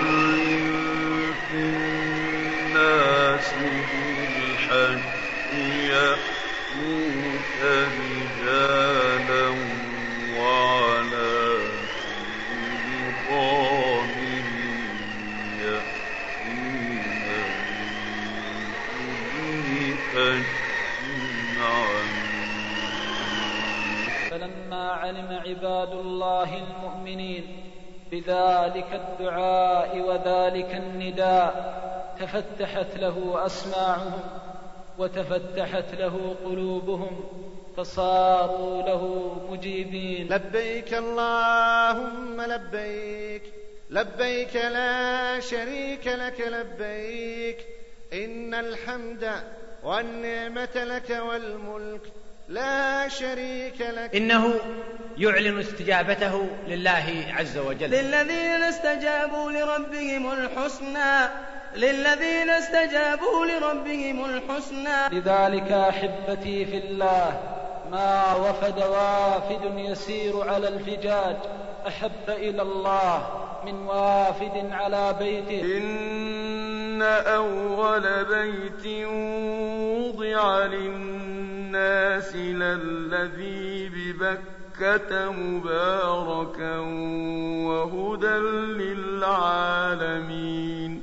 وأذن في الناس بالحج يأتوك رجالا وعلى كل ضامر يأتين من كل فج عميق فلما علم عباد الله المؤمنين بذلك الدعاء وذلك النداء تفتحت له اسماعهم وتفتحت له قلوبهم فصاروا له مجيبين لبيك اللهم لبيك لبيك لا شريك لك لبيك إن الحمد والنعمة لك والملك لا شريك لك إنه يعلن استجابته لله عز وجل للذين استجابوا لربهم الحسنى للذين استجابوا لربهم الحسنى لذلك احبتي في الله ما وفد وافد يسير على الفجاج احب الى الله من وافد على إيه. بيته إن أول بيت وضع للناس للذي ببكة مباركا وهدى للعالمين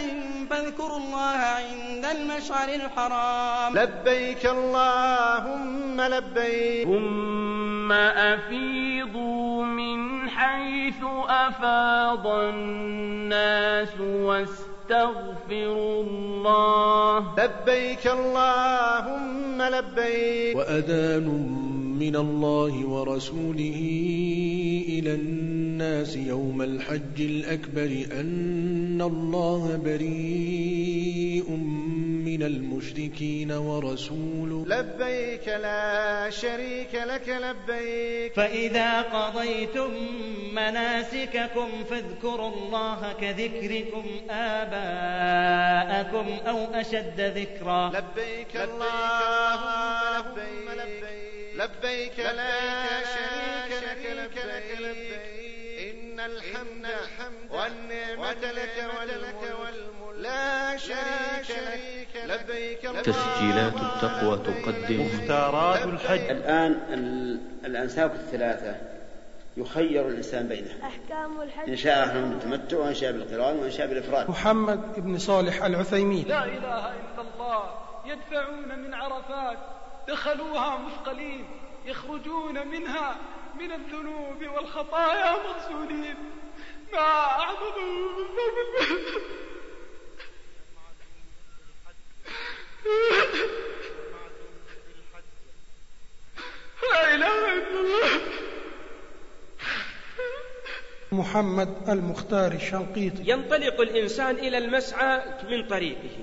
فاذكروا الله عند المشعر الحرام لبيك اللهم لبيك ثم أفيضوا من حيث أفاض الناس واستغفروا الله لبيك اللهم لبيك وأذان من الله ورسوله إلى الناس يوم الحج الأكبر أن الله بريء من المشركين ورسوله لبيك لا شريك لك لبيك فإذا قضيتم مناسككم فاذكروا الله كذكركم آباءكم أو أشد ذكرا لبيك اللهم لبيك لبيك لا شريك لك لبيك إن الحمد والنعمة لك والملك لا شريك لك لبيك تسجيلات التقوى تقدم مختارات الحج الآن ال- الأنساك الثلاثة يخير الإنسان بينها أحكام إن الحج شاء أهل بالتمتع وإن شاء بالقران وإن شاء بالإفراد محمد بن صالح العثيمين لا إله إلا الله يدفعون من عرفات دخلوها مثقلين يخرجون منها من الذنوب والخطايا مغسولين ما أعظمه من فضل محمد المختار الشنقيطي ينطلق الإنسان إلى المسعى من طريقه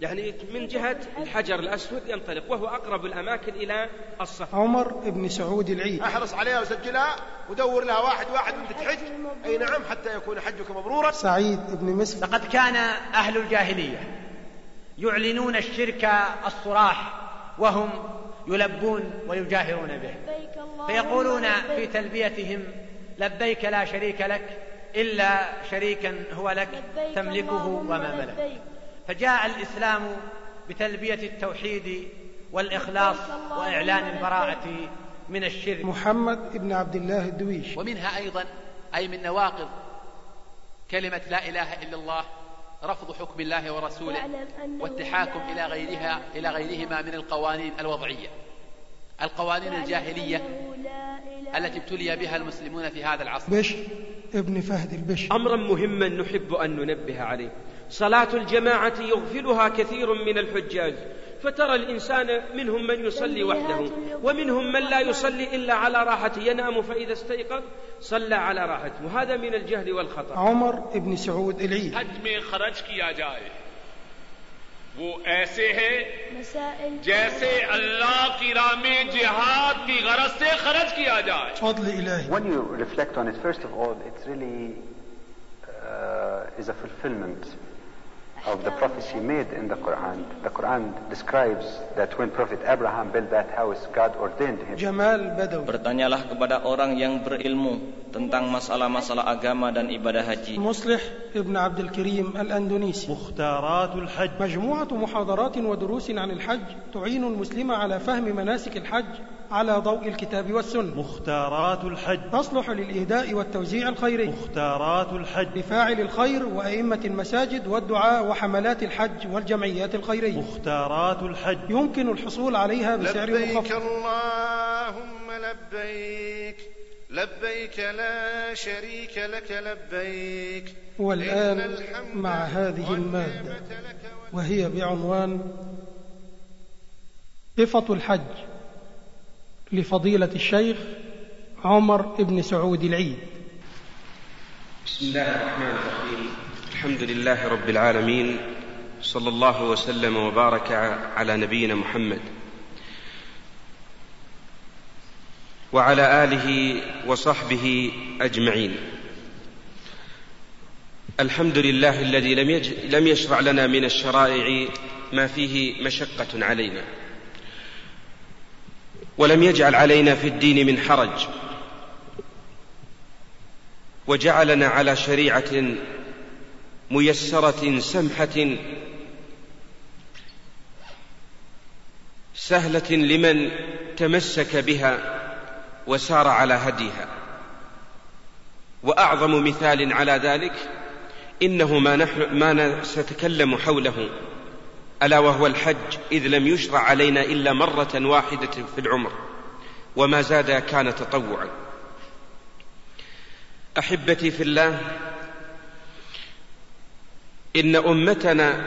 يعني من جهة الحجر الأسود ينطلق وهو أقرب الأماكن إلى الصف عمر بن سعود العيد احرص عليها وسجلها ودور لها واحد واحد وانت تحج اي نعم حتى يكون حجك مبرورا سعيد بن مسلم لقد كان أهل الجاهلية يعلنون الشرك الصراح وهم يلبون ويجاهرون به فيقولون في تلبيتهم لبيك لا شريك لك إلا شريكا هو لك تملكه وما ملك فجاء الإسلام بتلبية التوحيد والإخلاص وإعلان البراءة من الشرك محمد بن عبد الله الدويش ومنها أيضا أي من نواقض كلمة لا إله إلا الله رفض حكم الله ورسوله والتحاكم إلى غيرها إلى غيرهما من القوانين الوضعية القوانين الجاهلية التي ابتلي بها المسلمون في هذا العصر بشر ابن فهد البشر أمرا مهما نحب أن ننبه عليه صلاة الجماعة يغفلها كثير من الحجاج فترى الإنسان منهم من يصلي وحده ومنهم من لا يصلي إلا على راحته ينام فإذا استيقظ صلى على راحته وهذا من الجهل والخطأ عمر بن سعود العيد हज में खर्च किया जाए वो ऐसे है जैसे अल्लाह की राह में जिहाद की गरज से खर्च किया जाए فضل إلهي When you reflect on it, first of all, it really uh, is a fulfillment of the prophecy made in the Quran. The Quran describes that when Prophet Abraham built that house, God ordained him. جمال بدوي Bertanyalah kepada orang yang berilmu tentang masalah-masalah agama dan ibadah haji. مصلح ابن عبد الكريم الأندونيسي مختارات الحج مجموعة محاضرات ودروس عن الحج تعين المسلم على فهم مناسك الحج على ضوء الكتاب والسنة مختارات الحج تصلح للإهداء والتوزيع الخيري مختارات الحج لفاعل الخير وأئمة المساجد والدعاء وحملات الحج والجمعيات الخيرية مختارات الحج يمكن الحصول عليها بسعر لبيك مخفض اللهم لبيك لبيك لا شريك لك لبيك إن والآن الحمد مع هذه المادة والنعمة لك وهي بعنوان صفة الحج لفضيلة الشيخ عمر بن سعود العيد بسم الله الرحمن الرحيم الحمد لله رب العالمين صلى الله وسلم وبارك على نبينا محمد وعلى اله وصحبه اجمعين الحمد لله الذي لم, يج... لم يشرع لنا من الشرائع ما فيه مشقه علينا ولم يجعل علينا في الدين من حرج وجعلنا على شريعه ميسره سمحه سهله لمن تمسك بها وسار على هديها واعظم مثال على ذلك انه ما نحن ما ن- سنتكلم حوله الا وهو الحج اذ لم يشرع علينا الا مره واحده في العمر وما زاد كان تطوعا احبتي في الله ان امتنا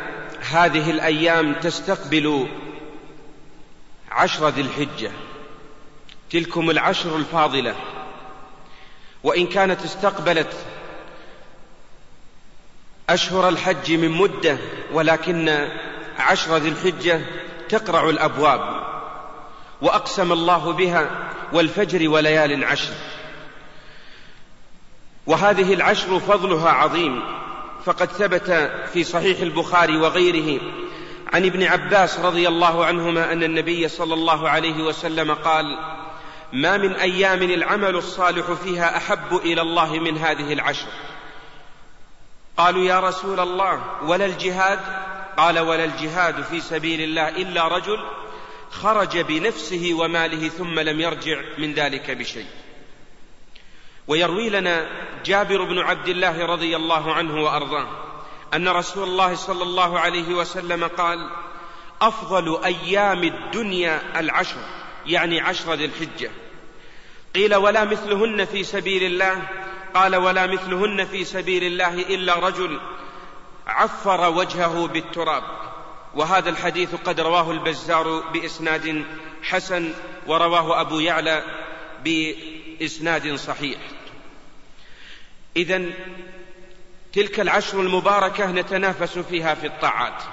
هذه الايام تستقبل عشر ذي الحجه تلكم العشر الفاضله وان كانت استقبلت اشهر الحج من مده ولكن عشر ذي الحجه تقرع الابواب واقسم الله بها والفجر وليال عشر وهذه العشر فضلها عظيم فقد ثبت في صحيح البخاري وغيره عن ابن عباس رضي الله عنهما ان النبي صلى الله عليه وسلم قال ما من ايام العمل الصالح فيها احب الى الله من هذه العشر قالوا يا رسول الله ولا الجهاد قال ولا الجهاد في سبيل الله الا رجل خرج بنفسه وماله ثم لم يرجع من ذلك بشيء ويروي لنا جابر بن عبد الله رضي الله عنه وارضاه ان رسول الله صلى الله عليه وسلم قال افضل ايام الدنيا العشر يعني عشر ذي الحجه قيل ولا مثلهن في سبيل الله قال ولا مثلهن في سبيل الله الا رجل عفر وجهه بالتراب وهذا الحديث قد رواه البزار باسناد حسن ورواه ابو يعلى باسناد صحيح إذا تلك العشر المباركة نتنافس فيها في الطاعات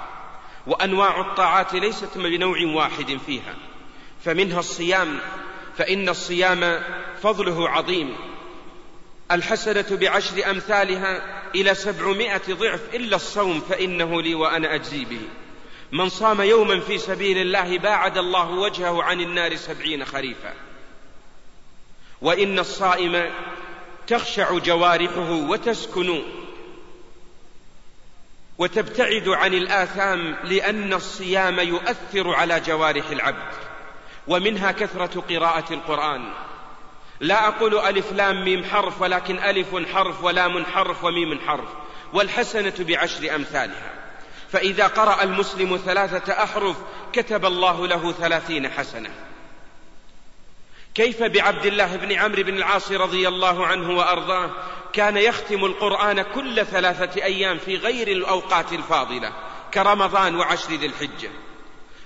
وأنواع الطاعات ليست بنوع واحد فيها فمنها الصيام فإن الصيام فضله عظيم الحسنة بعشر أمثالها إلى سبعمائة ضعف إلا الصوم فإنه لي وأنا أجزي به من صام يوما في سبيل الله باعد الله وجهه عن النار سبعين خريفا وإن الصائم تخشع جوارحه وتسكن وتبتعد عن الآثام لأن الصيام يؤثر على جوارح العبد ومنها كثرة قراءة القرآن لا أقول ألف لام ميم حرف ولكن ألف حرف ولام حرف وميم حرف والحسنة بعشر أمثالها فإذا قرأ المسلم ثلاثة أحرف كتب الله له ثلاثين حسنة كيف بعبد الله بن عمرو بن العاص رضي الله عنه وأرضاه كان يختم القرآن كل ثلاثة أيام في غير الأوقات الفاضلة كرمضان وعشر ذي الحجة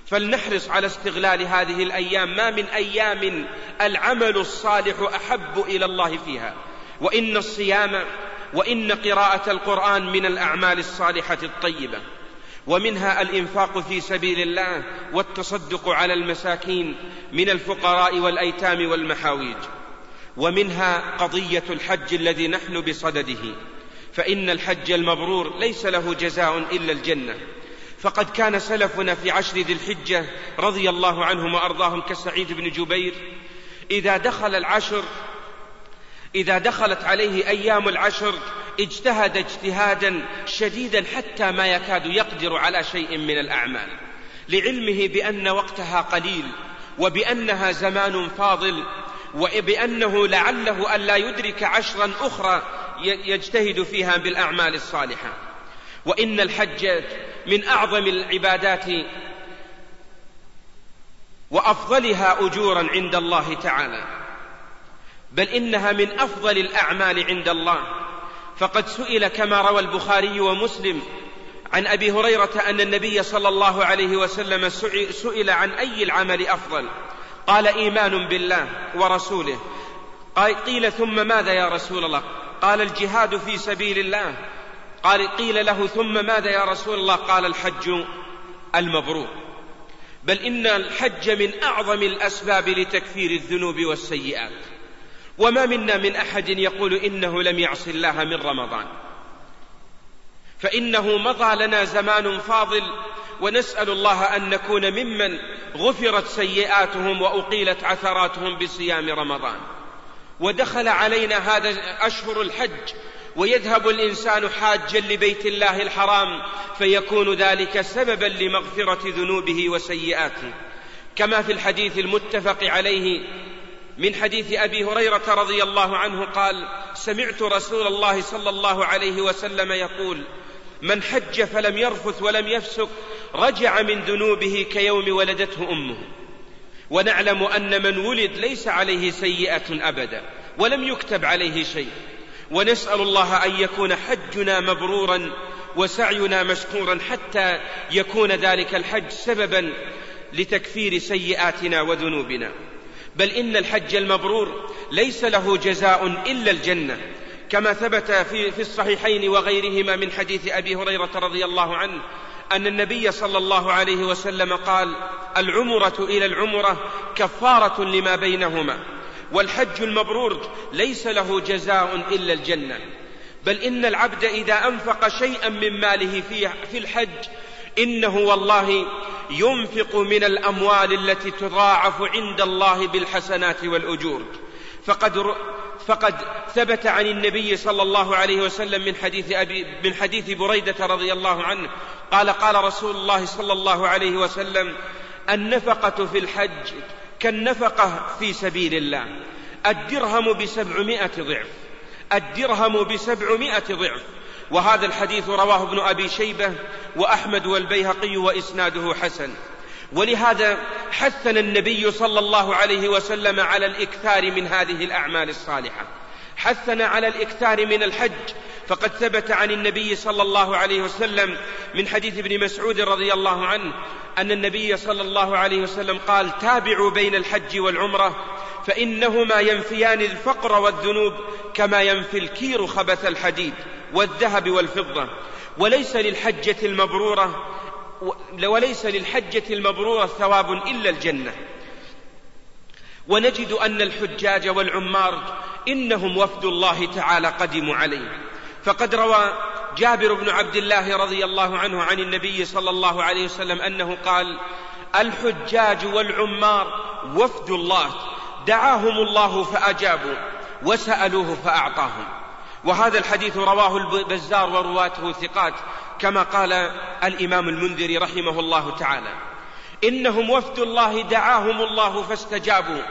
فلنحرص على استغلال هذه الأيام ما من أيام العمل الصالح أحب إلى الله فيها وإن الصيام وإن قراءة القرآن من الأعمال الصالحة الطيبة ومنها الإنفاق في سبيل الله والتصدق على المساكين من الفقراء والأيتام والمحاويج ومنها قضية الحج الذي نحن بصدده فإن الحج المبرور ليس له جزاء إلا الجنة فقد كان سلفنا في عشر ذي الحجة رضي الله عنهم وأرضاهم كسعيد بن جبير إذا دخل العشر إذا دخلت عليه أيام العشر اجتهد اجتهادا شديدا حتى ما يكاد يقدر على شيء من الأعمال لعلمه بأن وقتها قليل وبأنها زمان فاضل وبأنه لعله ألا يدرك عشرا أخرى يجتهد فيها بالأعمال الصالحة وإن الحج من أعظم العبادات وأفضلها أجورا عند الله تعالى بل إنها من أفضل الأعمال عند الله فقد سئل كما روى البخاري ومسلم عن أبي هريرة أن النبي صلى الله عليه وسلم سئل عن أي العمل أفضل قال إيمان بالله ورسوله قيل ثم ماذا يا رسول الله قال الجهاد في سبيل الله قال قيل له ثم ماذا يا رسول الله قال الحج المبرور بل إن الحج من أعظم الأسباب لتكفير الذنوب والسيئات وما منا من أحد يقول إنه لم يعص الله من رمضان فإنه مضى لنا زمان فاضل ونسأل الله أن نكون ممن غفرت سيئاتهم وأقيلت عثراتهم بصيام رمضان ودخل علينا هذا أشهر الحج ويذهب الإنسان حاجا لبيت الله الحرام فيكون ذلك سببا لمغفرة ذنوبه وسيئاته كما في الحديث المتفق عليه من حديث أبي هريرة رضي الله عنه قال سمعت رسول الله صلى الله عليه وسلم يقول من حج فلم يرفث ولم يفسق رجع من ذنوبه كيوم ولدته أمه ونعلم أن من ولد ليس عليه سيئة أبدا ولم يكتب عليه شيء ونسأل الله أن يكون حجنا مبرورا وسعينا مشكورا حتى يكون ذلك الحج سببا لتكفير سيئاتنا وذنوبنا بل إن الحج المبرور ليس له جزاء إلا الجنة كما ثبت في, في الصحيحين وغيرهما من حديث أبي هريرة رضي الله عنه أن النبي صلى الله عليه وسلم قال العمرة إلى العمرة كفارة لما بينهما والحج المبرور ليس له جزاء إلا الجنة بل إن العبد إذا أنفق شيئا من ماله في الحج إنه والله ينفق من الأموال التي تضاعف عند الله بالحسنات والأجور فقد فقد ثبت عن النبي صلى الله عليه وسلم من حديث أبي من حديث بريدة رضي الله عنه قال قال رسول الله صلى الله عليه وسلم النفقة في الحج كالنفقة في سبيل الله الدرهم بسبعمائة ضعف الدرهم بسبعمائة ضعف وهذا الحديث رواه ابن أبي شيبة وأحمد والبيهقي وإسناده حسن ولهذا حثنا النبي صلى الله عليه وسلم على الإكثار من هذه الأعمال الصالحة حثنا على الإكثار من الحج فقد ثبت عن النبي صلى الله عليه وسلم من حديث ابن مسعود رضي الله عنه أن النبي صلى الله عليه وسلم قال تابعوا بين الحج والعمرة فإنهما ينفيان الفقر والذنوب كما ينفي الكير خبث الحديد والذهب والفضة وليس للحجة المبرورة وليس للحجة المبرورة ثواب إلا الجنة ونجد أن الحجاج والعمار إنهم وفد الله تعالى قدموا عليه فقد روى جابر بن عبد الله رضي الله عنه عن النبي صلى الله عليه وسلم أنه قال الحجاج والعمار وفد الله دعاهم الله فأجابوا وسألوه فأعطاهم وهذا الحديث رواه البزار ورواته ثقات كما قال الإمام المنذري رحمه الله تعالى إنهم وفد الله دعاهم الله فاستجابوا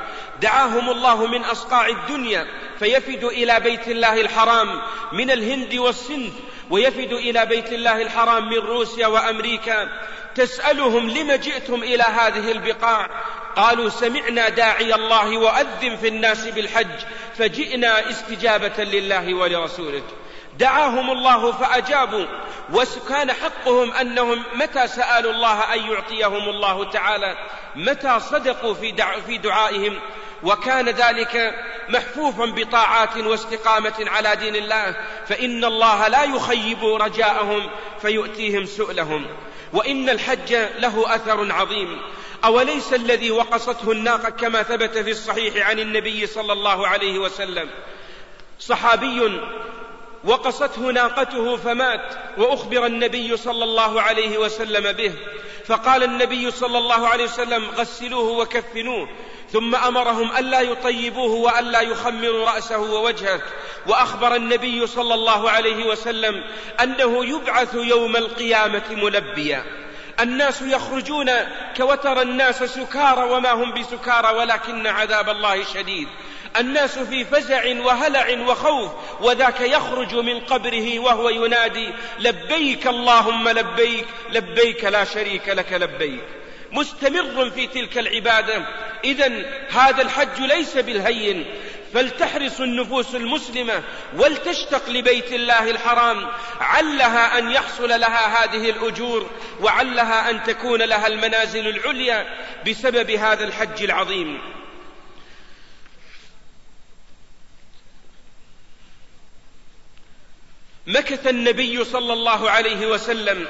دعاهم الله من أصقاع الدنيا فيفد إلى بيت الله الحرام من الهند والسند ويفد إلى بيت الله الحرام من روسيا وأمريكا تسألهم لم جئتم إلى هذه البقاع قالوا سمعنا داعي الله وأذن في الناس بالحج فجئنا استجابة لله ولرسوله دعاهم الله فأجابوا وكان حقهم أنهم متى سألوا الله أن يعطيهم الله تعالى متى صدقوا في, دع في دعائهم وكان ذلك محفوفا بطاعات واستقامة على دين الله فإن الله لا يخيب رجاءهم فيؤتيهم سؤلهم وإن الحج له أثر عظيم أوليس الذي وقصته الناقة كما ثبت في الصحيح عن النبي صلى الله عليه وسلم صحابي وقصته ناقته فمات واخبر النبي صلى الله عليه وسلم به فقال النبي صلى الله عليه وسلم غسلوه وكفنوه ثم امرهم الا يطيبوه والا يخمروا راسه ووجهه واخبر النبي صلى الله عليه وسلم انه يبعث يوم القيامه ملبيا الناس يخرجون كوتر الناس سكارى وما هم بسكارى ولكن عذاب الله شديد الناس في فزع وهلع وخوف وذاك يخرج من قبره وهو ينادي لبيك اللهم لبيك لبيك لا شريك لك لبيك مستمر في تلك العباده اذا هذا الحج ليس بالهين فلتحرص النفوس المسلمة ولتشتق لبيت الله الحرام علها أن يحصل لها هذه الأجور وعلها أن تكون لها المنازل العليا بسبب هذا الحج العظيم مكث النبي صلى الله عليه وسلم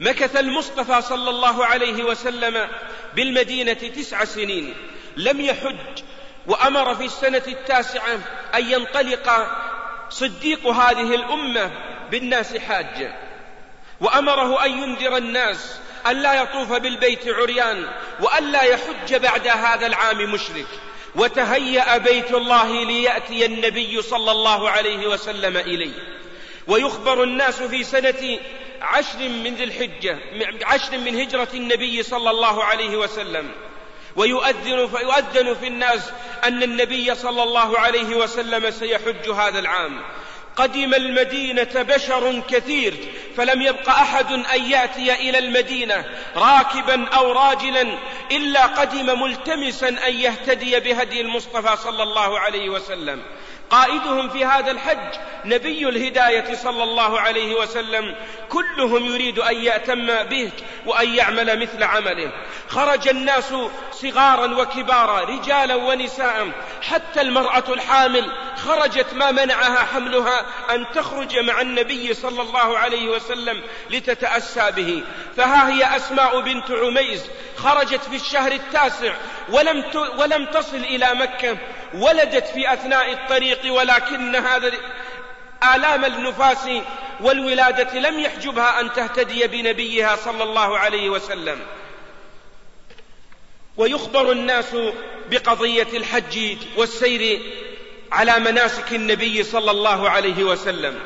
مكث المصطفى صلى الله عليه وسلم بالمدينة تسع سنين لم يحج وأمر في السنة التاسعة أن ينطلق صديق هذه الأمة بالناس حاجة وأمره أن ينذر الناس ألا يطوف بالبيت عريان وألا يحج بعد هذا العام مشرك وتهيأ بيت الله ليأتي النبي صلى الله عليه وسلم إليه ويخبر الناس في سنة عشر من ذي الحجة عشر من هجرة النبي صلى الله عليه وسلم ويؤذن فيؤذن في الناس أن النبي صلى الله عليه وسلم سيحج هذا العام قدم المدينة بشر كثير فلم يبق أحد أن يأتي إلى المدينة راكبا أو راجلا إلا قدم ملتمسا أن يهتدي بهدي المصطفى صلى الله عليه وسلم قائدهم في هذا الحج نبي الهداية صلى الله عليه وسلم كلهم يريد أن يأتم به وأن يعمل مثل عمله خرج الناس صغارا وكبارا رجالا ونساء حتى المرأة الحامل خرجت ما منعها حملها أن تخرج مع النبي صلى الله عليه وسلم لتتأسى به فها هي أسماء بنت عميس خرجت في الشهر التاسع ولم, ولم تصل إلى مكة ولدت في أثناء الطريق ولكن هذا آلام النفاس والولادة لم يحجبها أن تهتدي بنبيها صلى الله عليه وسلم ويخبر الناس بقضية الحج والسير على مناسك النبي صلى الله عليه وسلم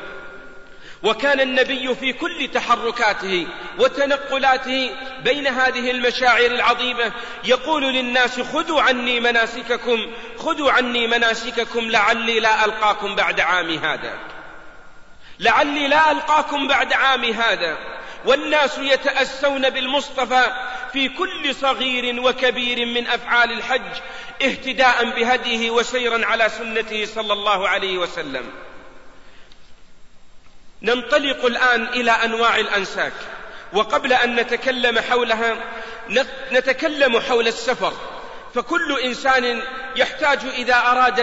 وكان النبي في كل تحركاته وتنقلاته بين هذه المشاعر العظيمه يقول للناس خذوا عني مناسككم خذوا عني مناسككم لعلي لا القاكم بعد عامي هذا لعلي لا القاكم بعد عامي هذا والناس يتاسون بالمصطفى في كل صغير وكبير من افعال الحج اهتداء بهديه وسيرا على سنته صلى الله عليه وسلم ننطلق الآن إلى أنواع الأنساك وقبل أن نتكلم حولها نتكلم حول السفر فكل إنسان يحتاج إذا أراد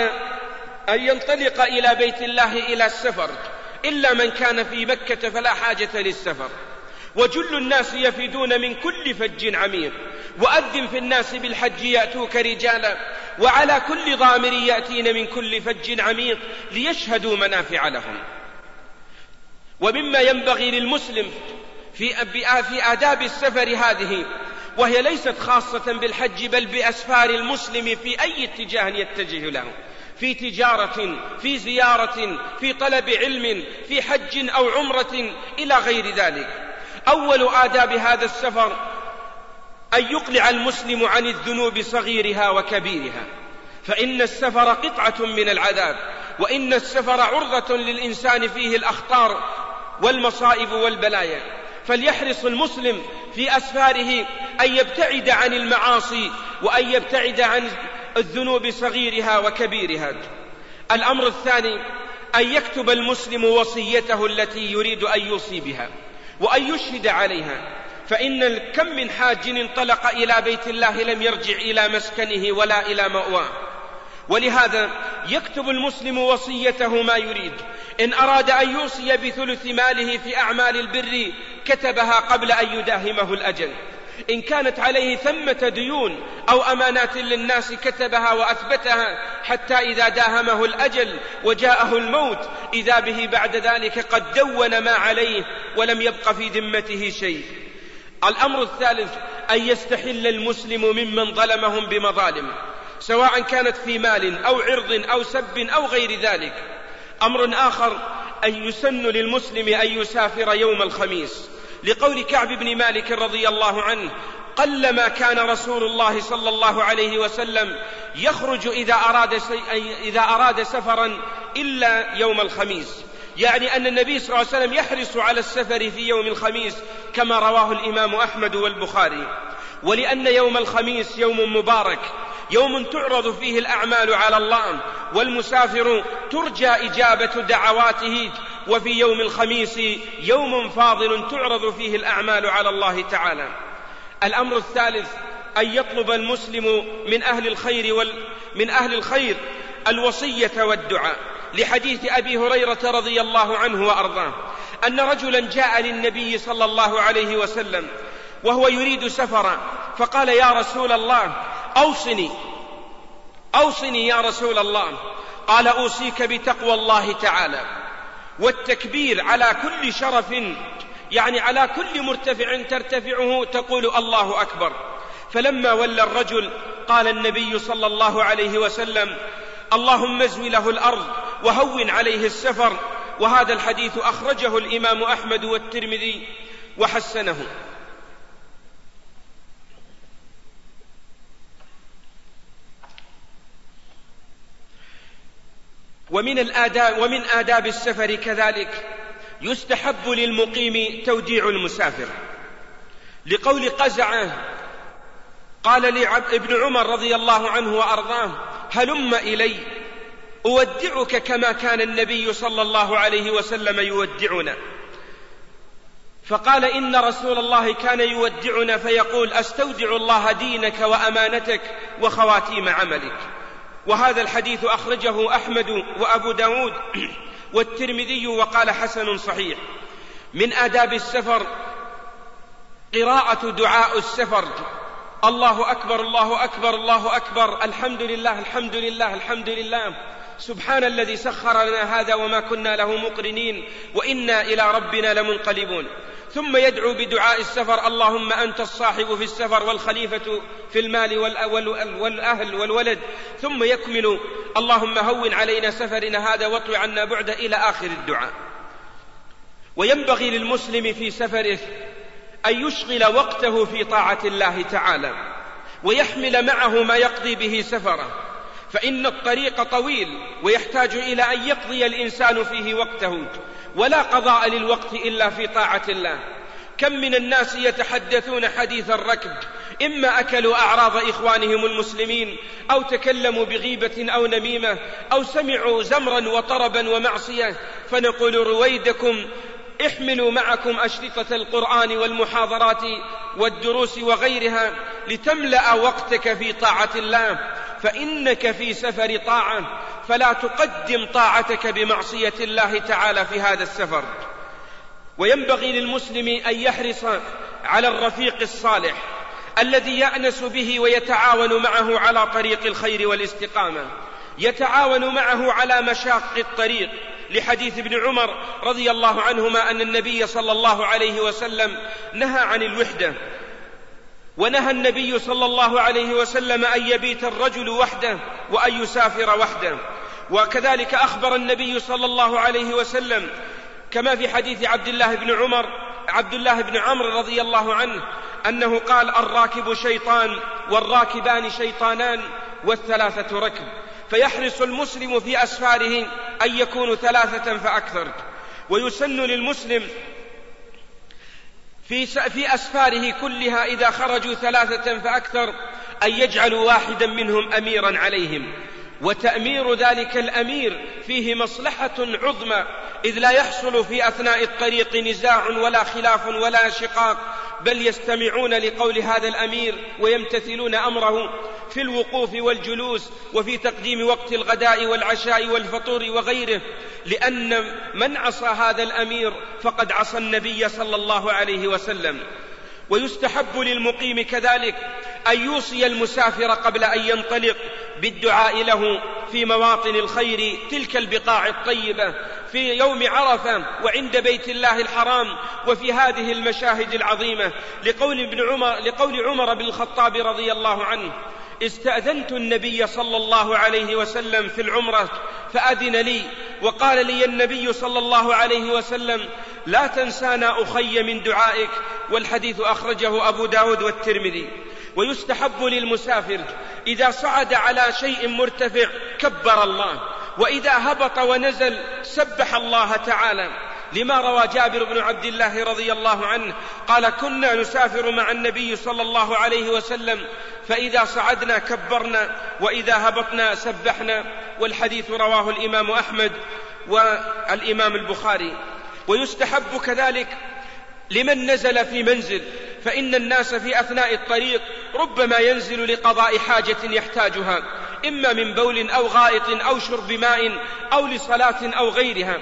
أن ينطلق إلى بيت الله إلى السفر إلا من كان في مكة فلا حاجة للسفر وجل الناس يفدون من كل فج عميق وأذن في الناس بالحج يأتوك رجالا وعلى كل ضامر يأتين من كل فج عميق ليشهدوا منافع لهم ومما ينبغي للمسلم في في آداب السفر هذه وهي ليست خاصة بالحج بل بأسفار المسلم في أي اتجاه يتجه له في تجارة في زيارة في طلب علم في حج أو عمرة إلى غير ذلك أول آداب هذا السفر أن يقلع المسلم عن الذنوب صغيرها وكبيرها فإن السفر قطعة من العذاب وإن السفر عرضة للإنسان فيه الأخطار والمصائب والبلايا فليحرص المسلم في أسفاره أن يبتعد عن المعاصي وأن يبتعد عن الذنوب صغيرها وكبيرها الأمر الثاني أن يكتب المسلم وصيته التي يريد أن يوصي بها وأن يشهد عليها فإن كم من حاج انطلق إلى بيت الله لم يرجع إلى مسكنه ولا إلى مأواه ولهذا يكتب المسلم وصيته ما يريد إن أراد أن يوصي بثلث ماله في أعمال البر كتبها قبل أن يداهمه الأجل إن كانت عليه ثمة ديون أو أمانات للناس كتبها وأثبتها حتى إذا داهمه الأجل وجاءه الموت إذا به بعد ذلك قد دون ما عليه ولم يبق في ذمته شيء الأمر الثالث أن يستحل المسلم ممن ظلمهم بمظالم سواء كانت في مال أو عرض أو سب أو غير ذلك أمر آخر أن يسن للمسلم أن يسافر يوم الخميس لقول كعب بن مالك رضي الله عنه قلما كان رسول الله صلى الله عليه وسلم يخرج إذا أراد, إذا أراد سفرا إلا يوم الخميس يعني أن النبي صلى الله عليه وسلم يحرص على السفر في يوم الخميس كما رواه الإمام أحمد والبخاري ولأن يوم الخميس يوم مبارك يوم تعرض فيه الأعمال على الله والمسافر ترجى إجابة دعواته وفي يوم الخميس يوم فاضل تعرض فيه الأعمال على الله تعالى الأمر الثالث أن يطلب المسلم من أهل الخير وال من أهل الخير الوصية والدعاء لحديث أبي هريرة رضي الله عنه وأرضاه أن رجلا جاء للنبي صلى الله عليه وسلم وهو يريد سفرا فقال يا رسول الله أوصني أوصني يا رسول الله قال أوصيك بتقوى الله تعالى والتكبير على كل شرف يعني على كل مرتفع ترتفعه تقول الله أكبر فلما ولى الرجل قال النبي صلى الله عليه وسلم اللهم ازو له الأرض وهون عليه السفر وهذا الحديث أخرجه الإمام أحمد والترمذي وحسنه ومن الآداب ومن آداب السفر كذلك يستحب للمقيم توديع المسافر لقول قزعة قال لي ابن عمر رضي الله عنه وأرضاه هلم إلي أودعك كما كان النبي صلى الله عليه وسلم يودعنا فقال إن رسول الله كان يودعنا فيقول أستودع الله دينك وأمانتك وخواتيم عملك وهذا الحديث أخرجه أحمد وأبو داود والترمذي وقال حسن صحيح من آداب السفر قراءة دعاء السفر الله أكبر الله أكبر الله أكبر الحمد لله الحمد لله الحمد لله سبحان الذي سخر لنا هذا وما كنا له مقرنين وإنا إلى ربنا لمنقلبون ثم يدعو بدعاء السفر اللهم أنت الصاحب في السفر والخليفة في المال والأهل والولد ثم يكمل اللهم هون علينا سفرنا هذا واطوي عنا بعده إلى آخر الدعاء وينبغي للمسلم في سفره أن يشغل وقته في طاعة الله تعالى ويحمل معه ما يقضي به سفره فإن الطريق طويل ويحتاج إلى أن يقضي الإنسان فيه وقته ولا قضاء للوقت إلا في طاعة الله كم من الناس يتحدثون حديث الركب إما أكلوا أعراض إخوانهم المسلمين أو تكلموا بغيبة أو نميمة أو سمعوا زمرا وطربا ومعصية فنقول رويدكم احملوا معكم أشرطة القرآن والمحاضرات والدروس وغيرها لتملأ وقتك في طاعة الله فإنك في سفر طاعة فلا تقدم طاعتك بمعصية الله تعالى في هذا السفر وينبغي للمسلم أن يحرص على الرفيق الصالح الذي يأنس به ويتعاون معه على طريق الخير والاستقامة يتعاون معه على مشاق الطريق لحديث ابن عمر رضي الله عنهما أن النبي صلى الله عليه وسلم نهى عن الوحدة ونهى النبي صلى الله عليه وسلم أن يبيت الرجل وحده وأن يسافر وحده وكذلك أخبر النبي صلى الله عليه وسلم كما في حديث عبد الله بن عمر عبد الله بن عمرو رضي الله عنه أنه قال الراكب شيطان والراكبان شيطانان والثلاثة ركب فيحرص المسلم في أسفاره أن يكون ثلاثة فأكثر ويسن للمسلم في في أسفاره كلها إذا خرجوا ثلاثة فأكثر أن يجعلوا واحدا منهم أميرا عليهم وتأمير ذلك الأمير فيه مصلحة عظمى إذ لا يحصل في أثناء الطريق نزاع ولا خلاف ولا شقاق بل يستمعون لقول هذا الأمير ويمتثلون أمره في الوقوف والجلوس وفي تقديم وقت الغداء والعشاء والفطور وغيره لأن من عصى هذا الأمير فقد عصى النبي صلى الله عليه وسلم ويستحب للمقيم كذلك أن يوصي المسافر قبل أن ينطلق بالدعاء له في مواطن الخير تلك البقاع الطيبة في يوم عرفة وعند بيت الله الحرام وفي هذه المشاهد العظيمة لقول ابن عمر لقول عمر بن الخطاب رضي الله عنه استأذنت النبي صلى الله عليه وسلم في العمرة فأذن لي وقال لي النبي صلى الله عليه وسلم لا تنسانا أخي من دعائك والحديث أخرجه أبو داود والترمذي ويستحب للمسافر إذا صعد على شيء مرتفع كبر الله وإذا هبط ونزل سبح الله تعالى لما روى جابر بن عبد الله رضي الله عنه قال كنا نسافر مع النبي صلى الله عليه وسلم فإذا صعدنا كبرنا وإذا هبطنا سبحنا والحديث رواه الإمام أحمد والإمام البخاري ويستحب كذلك لمن نزل في منزل فإن الناس في أثناء الطريق ربما ينزل لقضاء حاجة يحتاجها إما من بول أو غائط أو شرب ماء أو لصلاة أو غيرها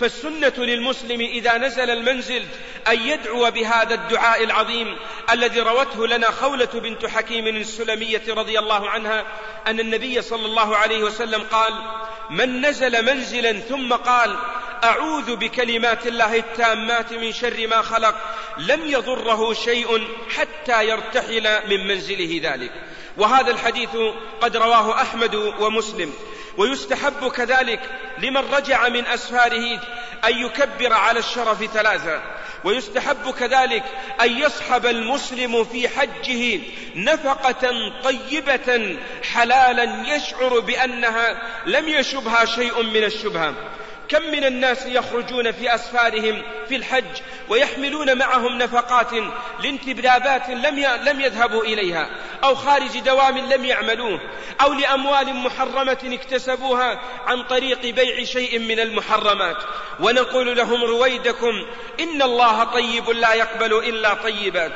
فالسنة للمسلم إذا نزل المنزل أن يدعو بهذا الدعاء العظيم الذي روته لنا خولة بنت حكيم السلمية رضي الله عنها أن النبي صلى الله عليه وسلم قال من نزل منزلا ثم قال أعوذ بكلمات الله التامات من شر ما خلق لم يضره شيء حتى يرتحل من منزله ذلك وهذا الحديث قد رواه أحمد ومسلم ويستحب كذلك لمن رجع من أسفاره أن يكبر على الشرف ثلاثا ويستحب كذلك أن يصحب المسلم في حجه نفقة طيبة حلالا يشعر بأنها لم يشبها شيء من الشبهة كم من الناس يخرجون في أسفارهم في الحج ويحملون معهم نفقات لانتبابات لم لم يذهبوا إليها أو خارج دوام لم يعملوه أو لأموال محرمة اكتسبوها عن طريق بيع شيء من المحرمات ونقول لهم رويدكم إن الله طيب لا يقبل إلا طيبات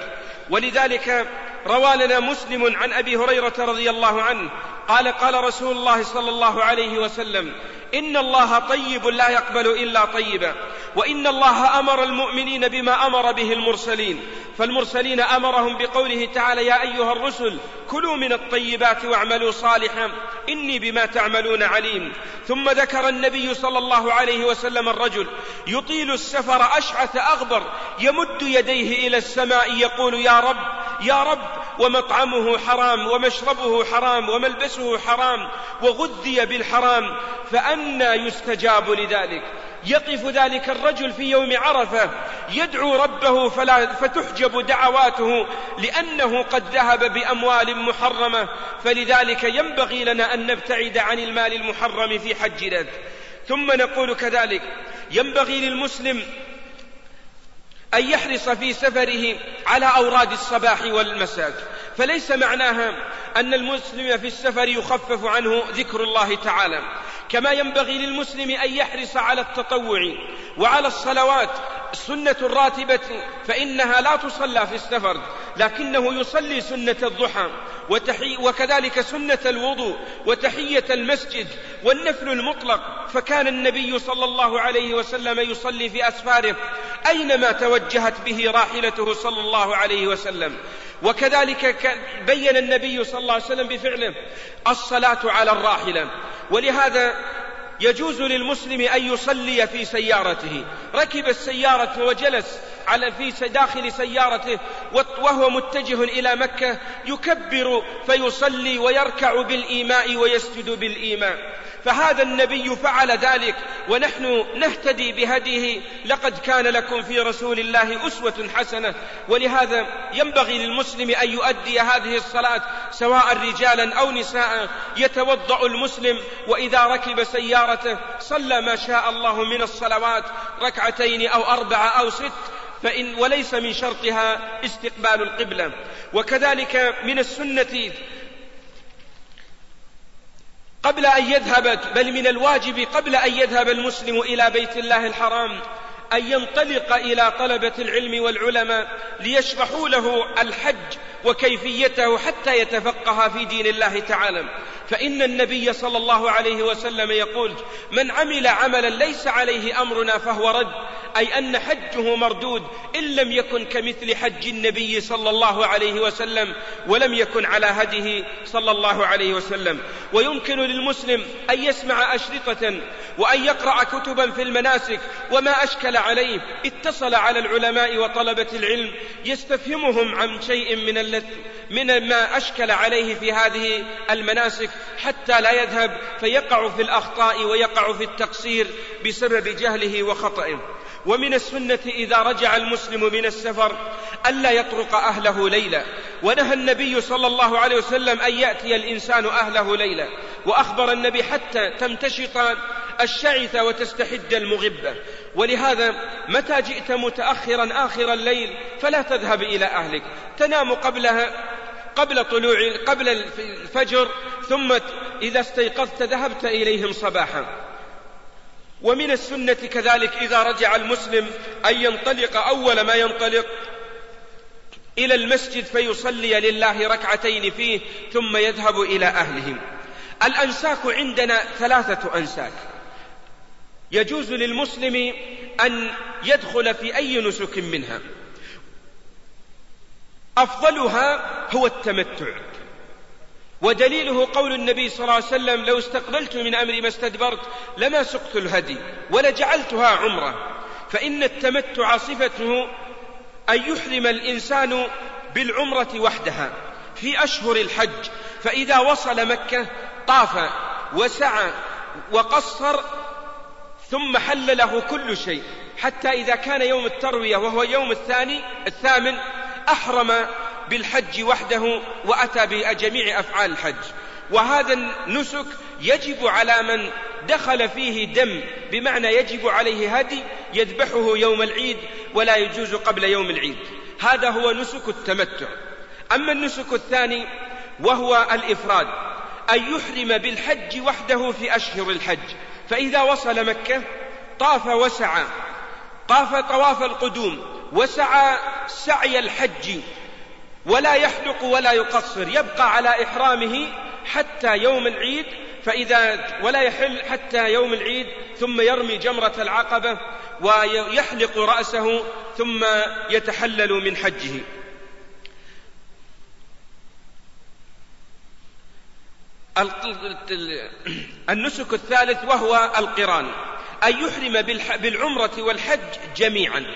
ولذلك روى لنا مسلم عن أبي هريرة رضي الله عنه قال قال رسول الله صلى الله عليه وسلم إن الله طيب لا يقبل إلا طيبا وإن الله أمر المؤمنين بما أمر به المرسلين فالمرسلين أمرهم بقوله تعالى يا أيها الرسل كلوا من الطيبات واعملوا صالحا إني بما تعملون عليم ثم ذكر النبي صلى الله عليه وسلم الرجل يطيل السفر أشعث أغبر يمد يديه إلى السماء يقول يا رب يا رب ومطعمه حرام ومشربه حرام وملبسه حرام وغذي بالحرام فأنى يستجاب لذلك يقف ذلك الرجل في يوم عرفة يدعو ربه فلا فتحجب دعواته لأنه قد ذهب بأموال محرمة فلذلك ينبغي لنا أن نبتعد عن المال المحرم في حجنا ثم نقول كذلك ينبغي للمسلم أن يحرص في سفره على أوراد الصباح والمساء فليس معناها أن المسلم في السفر يخفف عنه ذكر الله تعالى كما ينبغي للمسلم أن يحرص على التطوع وعلى الصلوات السنة الراتبة فإنها لا تصلى في السفر لكنه يصلي سنة الضحى وتحي وكذلك سنة الوضوء وتحية المسجد والنفل المطلق فكان النبي صلى الله عليه وسلم يصلي في أسفاره أينما توجهت به راحلته صلى الله عليه وسلم وكذلك ك- بين النبي صلى الله عليه وسلم بفعله الصلاة على الراحلة ولهذا يجوز للمسلم أن يصلي في سيارته ركب السيارة وجلس على في داخل سيارته وهو متجه إلى مكة يكبر فيصلي ويركع بالإيماء ويسجد بالإيماء فهذا النبي فعل ذلك ونحن نهتدي بهديه لقد كان لكم في رسول الله أسوة حسنة ولهذا ينبغي للمسلم أن يؤدي هذه الصلاة سواء رجالا أو نساء يتوضأ المسلم وإذا ركب سيارته صلى ما شاء الله من الصلوات ركعتين أو أربعة أو ست فإن وليس من شرطها استقبال القبلة وكذلك من السنة قبل أن يذهب بل من الواجب قبل أن يذهب المسلم إلى بيت الله الحرام أن ينطلق إلى طلبة العلم والعلماء ليشرحوا له الحج وكيفيته حتى يتفقه في دين الله تعالى فإن النبي صلى الله عليه وسلم يقول من عمل عملا ليس عليه أمرنا فهو رد أي أن حجه مردود إن لم يكن كمثل حج النبي صلى الله عليه وسلم ولم يكن على هديه صلى الله عليه وسلم ويمكن للمسلم أن يسمع أشرطة وأن يقرأ كتبا في المناسك وما أشكل عليه اتصل على العلماء وطلبة العلم يستفهمهم عن شيء من, من ما أشكل عليه في هذه المناسك حتى لا يذهب فيقع في الأخطاء ويقع في التقصير بسبب جهله وخطئه ومن السنة إذا رجع المسلم من السفر ألا يطرق أهله ليلا ونهى النبي صلى الله عليه وسلم أن يأتي الإنسان أهله ليلا وأخبر النبي حتى تمتشط الشعث وتستحد المغبة ولهذا متى جئت متأخرا آخر الليل فلا تذهب إلى أهلك تنام قبلها قبل طلوع قبل الفجر ثم إذا استيقظت ذهبت إليهم صباحا ومن السنة كذلك إذا رجع المسلم أن ينطلق أول ما ينطلق إلى المسجد فيصلي لله ركعتين فيه ثم يذهب إلى أهله الأنساك عندنا ثلاثة أنساك يجوز للمسلم أن يدخل في أي نسك منها أفضلها هو التمتع ودليله قول النبي صلى الله عليه وسلم لو استقبلت من أمري ما استدبرت لما سقت الهدي ولجعلتها عمرة فإن التمتع صفته أن يحرم الإنسان بالعمرة وحدها في أشهر الحج فإذا وصل مكة طاف وسعى وقصر ثم حل له كل شيء حتى إذا كان يوم التروية وهو يوم الثاني الثامن أحرم بالحج وحده وأتى بجميع أفعال الحج وهذا النسك يجب على من دخل فيه دم بمعنى يجب عليه هدي يذبحه يوم العيد ولا يجوز قبل يوم العيد هذا هو نسك التمتع أما النسك الثاني وهو الإفراد أن يحرم بالحج وحده في أشهر الحج فإذا وصل مكة طاف وسعى طاف طواف القدوم وسعى سعي الحج ولا يحلق ولا يقصر يبقى على إحرامه حتى يوم العيد فإذا ولا يحل حتى يوم العيد ثم يرمي جمرة العقبة ويحلق رأسه ثم يتحلل من حجه النسك الثالث وهو القران أن يحرم بالعمرة والحج جميعا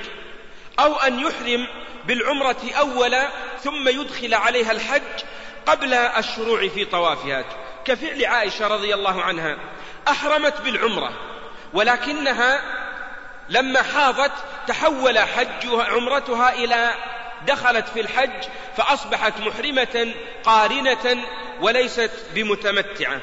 أو أن يحرم بالعمرة أولا ثم يدخل عليها الحج قبل الشروع في طوافها كفعل عائشة رضي الله عنها أحرمت بالعمرة ولكنها لما حاضت تحول حجها عمرتها إلى دخلت في الحج فأصبحت محرمة قارنة وليست بمتمتعة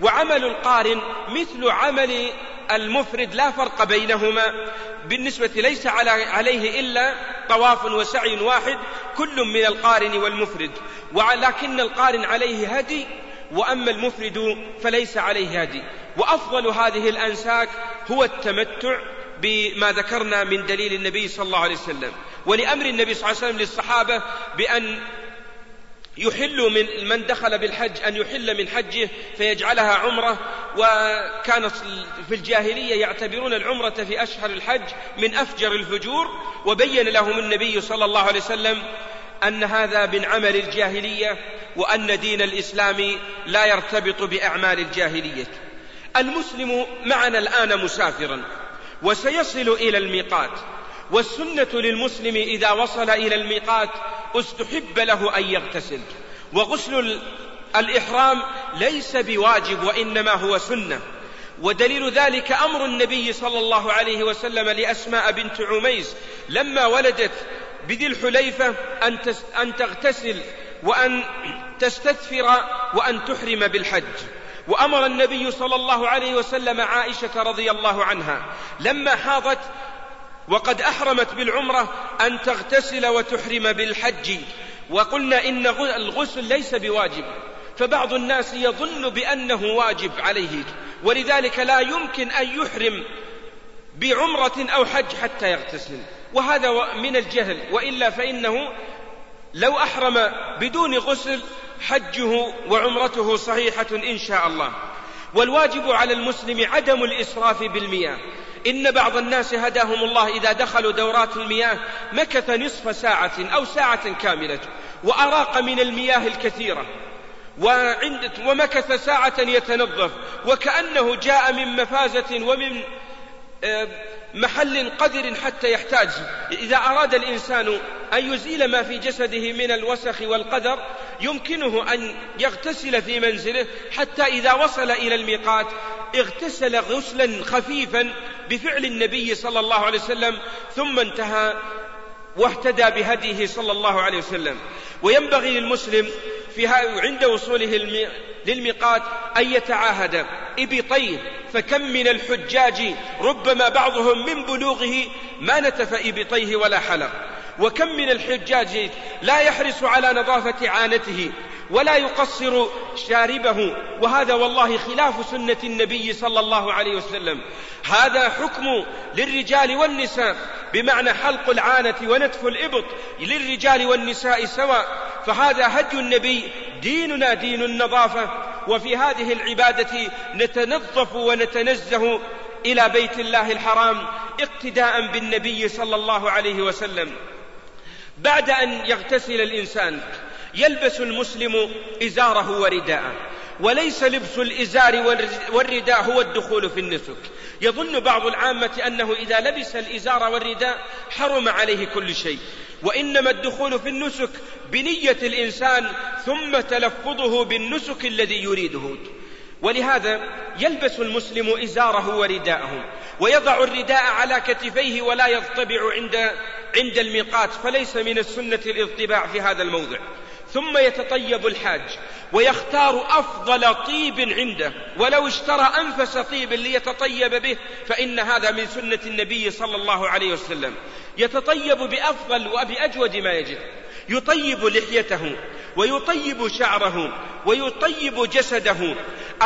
وعمل القارن مثل عمل المفرد لا فرق بينهما بالنسبة ليس عليه إلا طواف وسعي واحد كل من القارن والمفرد ولكن القارن عليه هدي وأما المفرد فليس عليه هدي وأفضل هذه الأنساك هو التمتع بما ذكرنا من دليل النبي صلى الله عليه وسلم ولأمر النبي صلى الله عليه وسلم للصحابة بأن يحل من من دخل بالحج أن يحل من حجه فيجعلها عمرة وكانت في الجاهلية يعتبرون العمرة في أشهر الحج من أفجر الفجور وبين لهم النبي صلى الله عليه وسلم أن هذا من عمل الجاهلية وأن دين الإسلام لا يرتبط بأعمال الجاهلية المسلم معنا الآن مسافرا وسيصل إلى الميقات والسنة للمسلم إذا وصل إلى الميقات استحب له أن يغتسل وغسل الإحرام ليس بواجب وإنما هو سنة ودليل ذلك أمر النبي صلى الله عليه وسلم لأسماء بنت عميس لما ولدت بذي الحليفة أن, تس أن تغتسل وأن تستثفر وأن تحرم بالحج وأمر النبي صلى الله عليه وسلم عائشة رضي الله عنها لما حاضت وقد أحرمت بالعمرة أن تغتسل وتحرم بالحج وقلنا إن الغسل ليس بواجب فبعض الناس يظن بأنه واجب عليه ولذلك لا يمكن أن يحرم بعمرة أو حج حتى يغتسل وهذا من الجهل وإلا فإنه لو أحرم بدون غسل حجه وعمرته صحيحة إن شاء الله والواجب على المسلم عدم الإسراف بالمياه إن بعض الناس هداهم الله إذا دخلوا دورات المياه مكث نصف ساعة أو ساعة كاملة وأراق من المياه الكثيرة وعند ومكث ساعة يتنظف وكأنه جاء من مفازة ومن آه، محل قدر حتى يحتاج إذا أراد الإنسان أن يزيل ما في جسده من الوسخ والقدر يمكنه أن يغتسل في منزله حتى إذا وصل إلى الميقات اغتسل غسلا خفيفا بفعل النبي صلى الله عليه وسلم ثم انتهى واهتدى بهديه صلى الله عليه وسلم وينبغي للمسلم في عند وصوله للميقات أن يتعاهد إبطيه فكم من الحجاج ربما بعضهم من بلوغه ما نتف إبطيه ولا حلق وكم من الحجاج لا يحرص على نظافة عانته ولا يقصر شاربه وهذا والله خلاف سنة النبي صلى الله عليه وسلم هذا حكم للرجال والنساء بمعنى حلق العانة ونتف الإبط للرجال والنساء سواء فهذا هدي النبي ديننا دين النظافة وفي هذه العبادة نتنظف ونتنزه إلى بيت الله الحرام اقتداء بالنبي صلى الله عليه وسلم بعد أن يغتسل الإنسان يلبس المسلم إزاره ورداءه وليس لبس الإزار والرداء هو الدخول في النسك يظن بعض العامة أنه إذا لبس الإزار والرداء حرم عليه كل شيء وإنما الدخول في النسك بنية الإنسان ثم تلفظه بالنسك الذي يريده ولهذا يلبس المسلم إزاره ورداءه ويضع الرداء على كتفيه ولا يضطبع عند عند الميقات فليس من السنة الاضطباع في هذا الموضع ثم يتطيب الحاج ويختار أفضل طيب عنده ولو اشترى أنفس طيب ليتطيب به فإن هذا من سنة النبي صلى الله عليه وسلم يتطيب بأفضل وبأجود ما يجد يطيب لحيته ويطيب شعره ويطيب جسده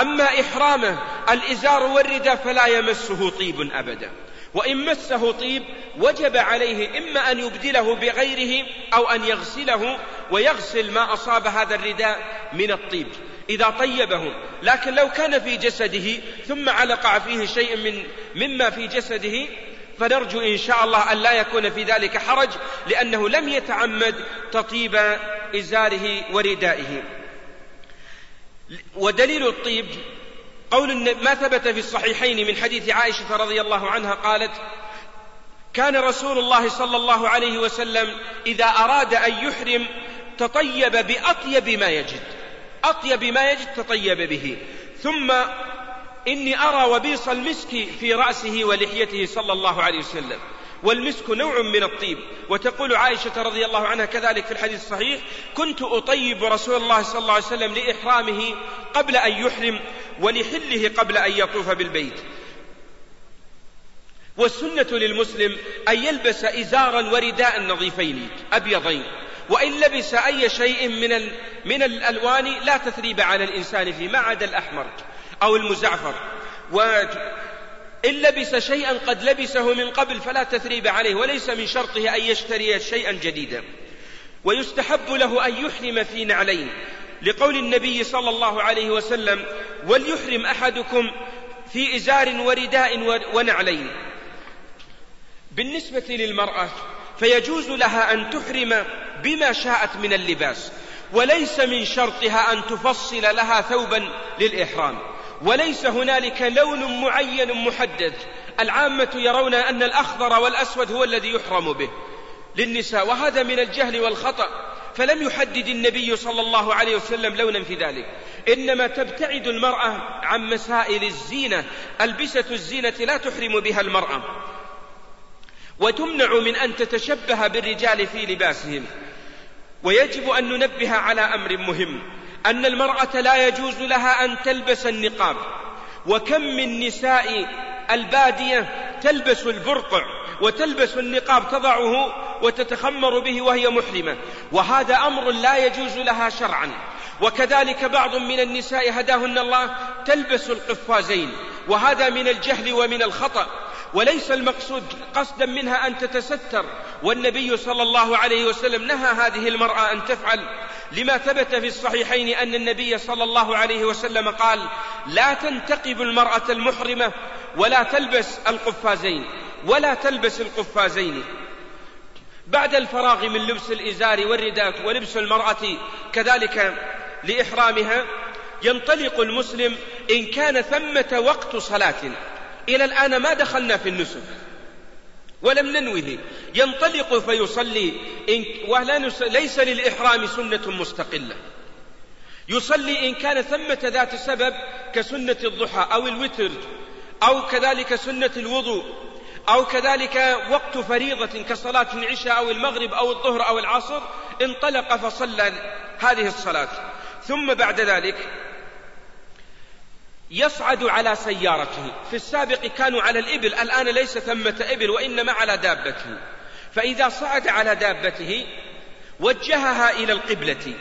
أما إحرامه الإزار والرداء فلا يمسه طيب أبدا وإن مسه طيب وجب عليه إما أن يبدله بغيره أو أن يغسله ويغسل ما أصاب هذا الرداء من الطيب إذا طيبه لكن لو كان في جسده ثم علق فيه شيء من مما في جسده فنرجو إن شاء الله أن لا يكون في ذلك حرج لأنه لم يتعمد تطيب إزاره وردائه ودليل الطيب قول ما ثبت في الصحيحين من حديث عائشة رضي الله عنها قالت كان رسول الله صلى الله عليه وسلم إذا أراد أن يحرم تطيب بأطيب ما يجد أطيب ما يجد تطيب به ثم إني أرى وبيص المسك في رأسه ولحيته صلى الله عليه وسلم والمسك نوع من الطيب وتقول عائشة رضي الله عنها كذلك في الحديث الصحيح كنت أطيب رسول الله صلى الله عليه وسلم لإحرامه قبل أن يحرم ولحله قبل أن يطوف بالبيت والسنة للمسلم أن يلبس إزارا ورداء نظيفين أبيضين وإن لبس أي شيء من, من الألوان لا تثريب على الإنسان فيه ما عدا الأحمر أو المزعفر وإن لبس شيئا قد لبسه من قبل فلا تثريب عليه وليس من شرطه أن يشتري شيئا جديدا ويستحب له أن يحرم في نعلين لقول النبي صلى الله عليه وسلم وليحرم أحدكم في إزار ورداء ونعلين بالنسبة للمرأة فيجوز لها أن تحرم بما شاءت من اللباس وليس من شرطها أن تفصل لها ثوبا للإحرام وليس هنالك لون معين محدد العامة يرون أن الأخضر والأسود هو الذي يحرم به للنساء وهذا من الجهل والخطأ فلم يحدد النبي صلى الله عليه وسلم لونا في ذلك إنما تبتعد المرأة عن مسائل الزينة ألبسة الزينة لا تحرم بها المرأة وتمنع من أن تتشبه بالرجال في لباسهم ويجب أن ننبه على أمر مهم أن المرأة لا يجوز لها أن تلبس النقاب وكم من نساء البادية تلبس البرقع وتلبس النقاب تضعه وتتخمر به وهي محرمة وهذا أمر لا يجوز لها شرعا وكذلك بعض من النساء هداهن الله تلبس القفازين وهذا من الجهل ومن الخطأ وليس المقصود قصدا منها أن تتستر والنبي صلى الله عليه وسلم نهى هذه المرأة أن تفعل لما ثبت في الصحيحين أن النبي صلى الله عليه وسلم قال لا تنتقب المرأة المحرمة ولا تلبس القفازين ولا تلبس القفازين بعد الفراغ من لبس الإزار والرداء ولبس المرأة كذلك لإحرامها ينطلق المسلم إن كان ثمة وقت صلاة إلى الآن ما دخلنا في النسك ولم ننوه ينطلق فيصلي إن ولا نس... ليس للإحرام سنة مستقلة يصلي إن كان ثمة ذات سبب كسنة الضحى أو الوتر أو كذلك سنة الوضوء أو كذلك وقت فريضة كصلاة العشاء أو المغرب أو الظهر أو العصر انطلق فصلى هذه الصلاة ثم بعد ذلك يصعد على سيارته في السابق كانوا على الإبل الآن ليس ثمة إبل وإنما على دابته فإذا صعد على دابته وجهها إلى القبلة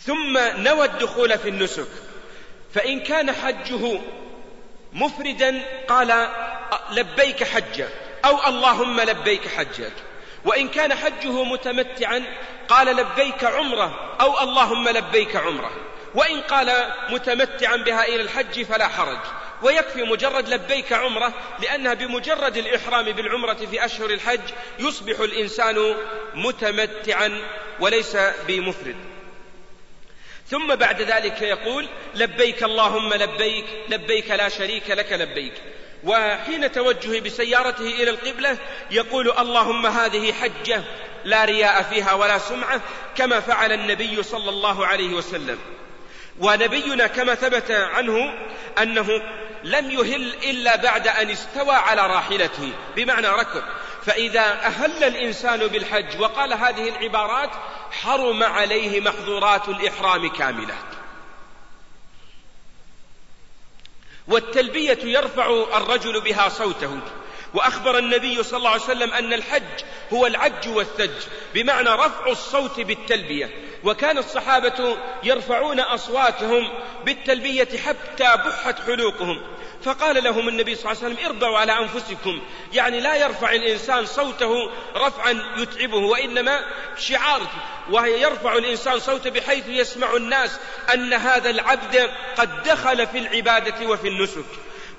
ثم نوى الدخول في النسك فإن كان حجه مفردا قال لبيك حجة أو اللهم لبيك حجك وإن كان حجه متمتعا قال لبيك عمرة أو اللهم لبيك عمره وإن قال متمتعا بها إلى الحج فلا حرج ويكفي مجرد لبيك عمرة لأنها بمجرد الإحرام بالعمرة في أشهر الحج يصبح الإنسان متمتعا وليس بمفرد ثم بعد ذلك يقول لبيك اللهم لبيك لبيك لا شريك لك لبيك وحين توجهه بسيارته إلى القبلة يقول اللهم هذه حجة لا رياء فيها ولا سمعة كما فعل النبي صلى الله عليه وسلم ونبينا كما ثبت عنه أنه لم يهل إلا بعد أن استوى على راحلته بمعنى ركب فإذا أهل الإنسان بالحج وقال هذه العبارات حرم عليه محظورات الإحرام كاملة والتلبية يرفع الرجل بها صوته وأخبر النبي صلى الله عليه وسلم أن الحج هو العج والثج بمعنى رفع الصوت بالتلبية وكان الصحابة يرفعون أصواتهم بالتلبية حتى بحت حلوقهم فقال لهم النبي صلى الله عليه وسلم ارضوا على أنفسكم يعني لا يرفع الإنسان صوته رفعا يتعبه وإنما شعار وهي يرفع الإنسان صوته بحيث يسمع الناس أن هذا العبد قد دخل في العبادة وفي النسك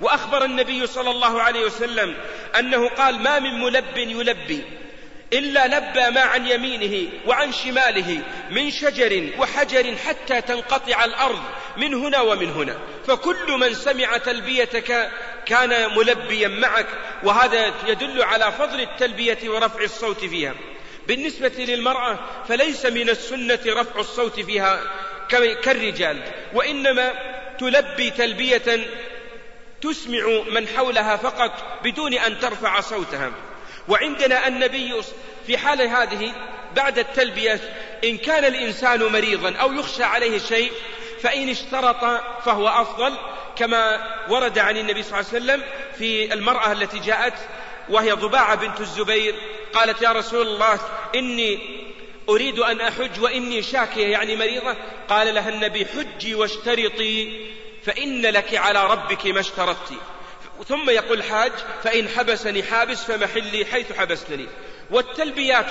وأخبر النبي صلى الله عليه وسلم أنه قال ما من ملب يلبي إلا لبى ما عن يمينه وعن شماله من شجر وحجر حتى تنقطع الأرض من هنا ومن هنا فكل من سمع تلبيتك كان ملبيا معك وهذا يدل على فضل التلبية ورفع الصوت فيها بالنسبة للمرأة فليس من السنة رفع الصوت فيها كالرجال وإنما تلبي تلبية تسمع من حولها فقط بدون أن ترفع صوتها وعندنا النبي في حال هذه بعد التلبية إن كان الإنسان مريضا أو يخشى عليه شيء فإن اشترط فهو أفضل كما ورد عن النبي صلى الله عليه وسلم في المرأة التي جاءت وهي ضباعة بنت الزبير قالت يا رسول الله إني أريد أن أحج وإني شاكية يعني مريضة قال لها النبي حجي واشترطي فإن لك على ربك ما اشترطت ثم يقول حاج فإن حبسني حابس فمحلي حيث حبستني والتلبيات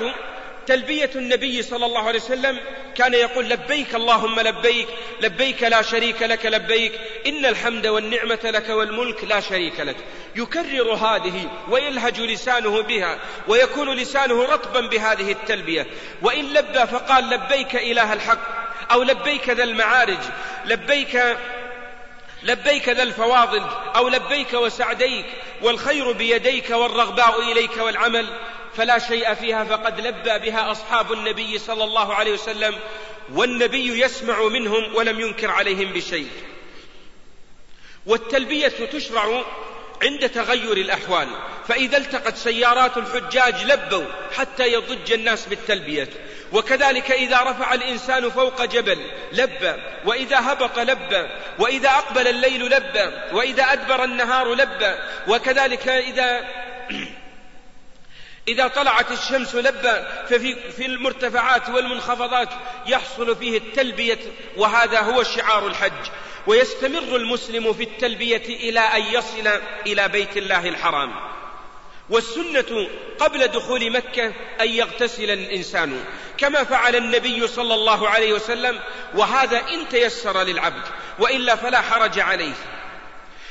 تلبية النبي صلى الله عليه وسلم كان يقول لبيك اللهم لبيك لبيك لا شريك لك لبيك إن الحمد والنعمة لك والملك لا شريك لك يكرر هذه ويلهج لسانه بها ويكون لسانه رطبا بهذه التلبية وإن لبى فقال لبيك إله الحق أو لبيك ذا المعارج لبيك لبيك ذا الفواضل أو لبيك وسعديك والخير بيديك والرغباء إليك والعمل فلا شيء فيها فقد لبى بها أصحاب النبي صلى الله عليه وسلم والنبي يسمع منهم ولم ينكر عليهم بشيء والتلبية تشرع عند تغير الأحوال فإذا التقت سيارات الحجاج لبوا حتى يضج الناس بالتلبية وكذلك إذا رفع الإنسان فوق جبل لبى وإذا هبط لبى وإذا أقبل الليل لبى وإذا أدبر النهار لبى وكذلك إذا إذا طلعت الشمس لبى ففي في المرتفعات والمنخفضات يحصل فيه التلبية وهذا هو شعار الحج ويستمر المسلم في التلبية إلى أن يصل إلى بيت الله الحرام والسنة قبل دخول مكة أن يغتسل الإنسان كما فعل النبي صلى الله عليه وسلم وهذا إن تيسر للعبد وإلا فلا حرج عليه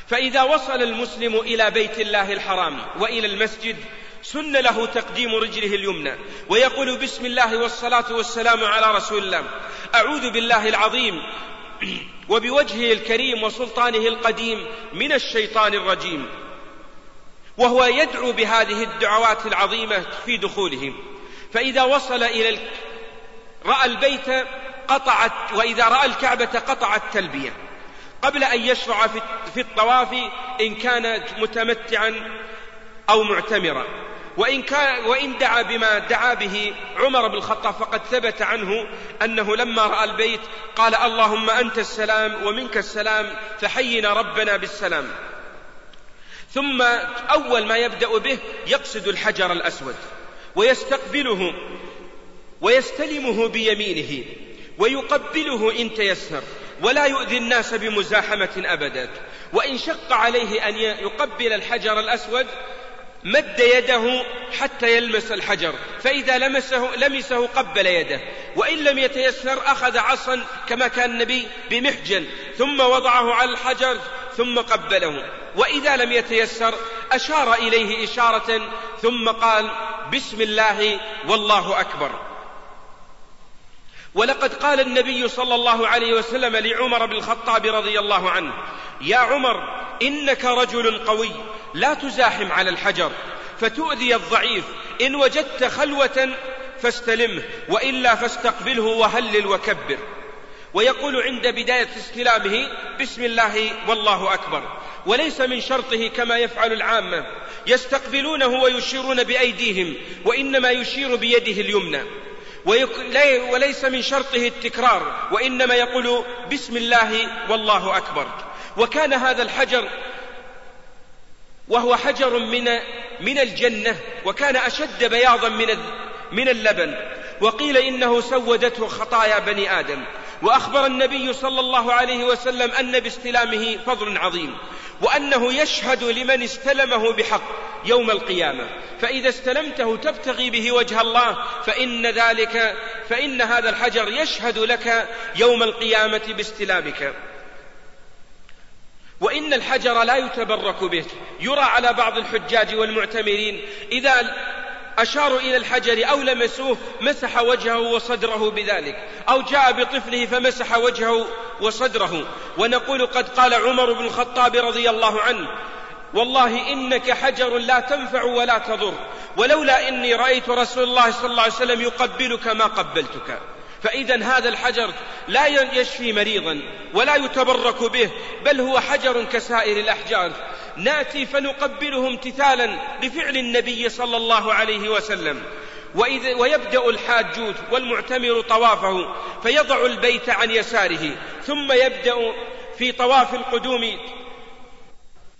فإذا وصل المسلم إلى بيت الله الحرام وإلى المسجد سن له تقديم رجله اليمنى ويقول بسم الله والصلاة والسلام على رسول الله أعوذ بالله العظيم وبوجهه الكريم وسلطانه القديم من الشيطان الرجيم وهو يدعو بهذه الدعوات العظيمة في دخوله فإذا وصل إلى ال... رأى البيت قطعت وإذا رأى الكعبة قطع التلبية قبل أن يشرع في الطواف إن كان متمتعا أو معتمرا وإن, كان وإن دعا بما دعا به عمر بن الخطاب فقد ثبت عنه أنه لما رأى البيت قال اللهم أنت السلام ومنك السلام فحينا ربنا بالسلام ثم أول ما يبدأ به يقصد الحجر الأسود ويستقبله ويستلمه بيمينه ويقبله إن تيسر ولا يؤذي الناس بمزاحمة أبدا وإن شق عليه أن يقبل الحجر الأسود مد يده حتى يلمس الحجر فإذا لمسه, لمسه قبل يده وإن لم يتيسر أخذ عصا كما كان النبي بمحجن ثم وضعه على الحجر ثم قبله وإذا لم يتيسر أشار إليه إشارة ثم قال بسم الله والله أكبر ولقد قال النبي صلى الله عليه وسلم لعمر بن الخطاب رضي الله عنه يا عمر إنك رجل قوي لا تزاحم على الحجر فتؤذي الضعيف إن وجدت خلوة فاستلمه وإلا فاستقبله وهلل وكبر ويقول عند بداية استلامه بسم الله والله أكبر وليس من شرطه كما يفعل العامة يستقبلونه ويشيرون بأيديهم وإنما يشير بيده اليمنى وليس من شرطه التكرار وإنما يقول بسم الله والله أكبر وكان هذا الحجر وهو حجر من من الجنة وكان أشد بياضا من من اللبن وقيل إنه سودته خطايا بني آدم وأخبر النبي صلى الله عليه وسلم أن باستلامه فضل عظيم وأنه يشهد لمن استلمه بحق يوم القيامة فإذا استلمته تبتغي به وجه الله فإن ذلك فإن هذا الحجر يشهد لك يوم القيامة باستلامك وإن الحجر لا يتبرك به يرى على بعض الحجاج والمعتمرين إذا أشاروا إلى الحجر أو لمسوه مسح وجهه وصدره بذلك أو جاء بطفله فمسح وجهه وصدره ونقول قد قال عمر بن الخطاب رضي الله عنه والله إنك حجر لا تنفع ولا تضر ولولا إني رأيت رسول الله صلى الله عليه وسلم يقبلك ما قبلتك فإذا هذا الحجر لا يشفي مريضا ولا يتبرك به بل هو حجر كسائر الأحجار ناتي فنقبله امتثالا لفعل النبي صلى الله عليه وسلم وإذ ويبدأ الحاجوت والمعتمر طوافه فيضع البيت عن يساره ثم يبدأ في طواف القدوم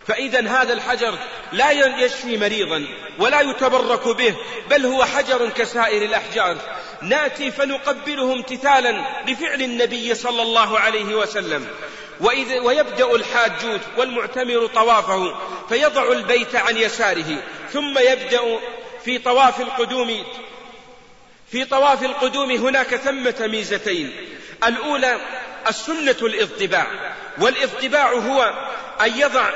فإذا هذا الحجر لا يشفي مريضا ولا يتبرك به بل هو حجر كسائر الأحجار ناتي فنقبله امتثالا لفعل النبي صلى الله عليه وسلم وإذ ويبدأ الحاجوت والمعتمر طوافه فيضع البيت عن يساره ثم يبدأ في طواف القدوم في طواف القدوم هناك ثمة ميزتين الأولى السنة الاضطباع والاضطباع هو أن يضع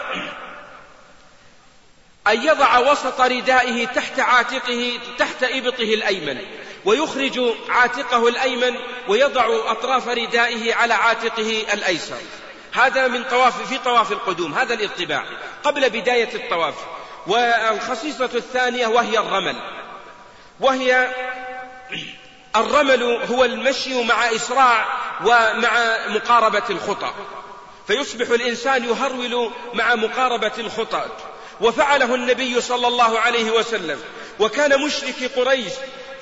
أن يضع وسط ردائه تحت عاتقه تحت إبطه الأيمن ويخرج عاتقه الأيمن ويضع أطراف ردائه على عاتقه الأيسر هذا من طواف في طواف القدوم هذا الاطباع قبل بداية الطواف والخصيصة الثانية وهي الرمل وهي الرمل هو المشي مع إسراع ومع مقاربة الخطى فيصبح الإنسان يهرول مع مقاربة الخطأ وفعله النبي صلى الله عليه وسلم وكان مشرك قريش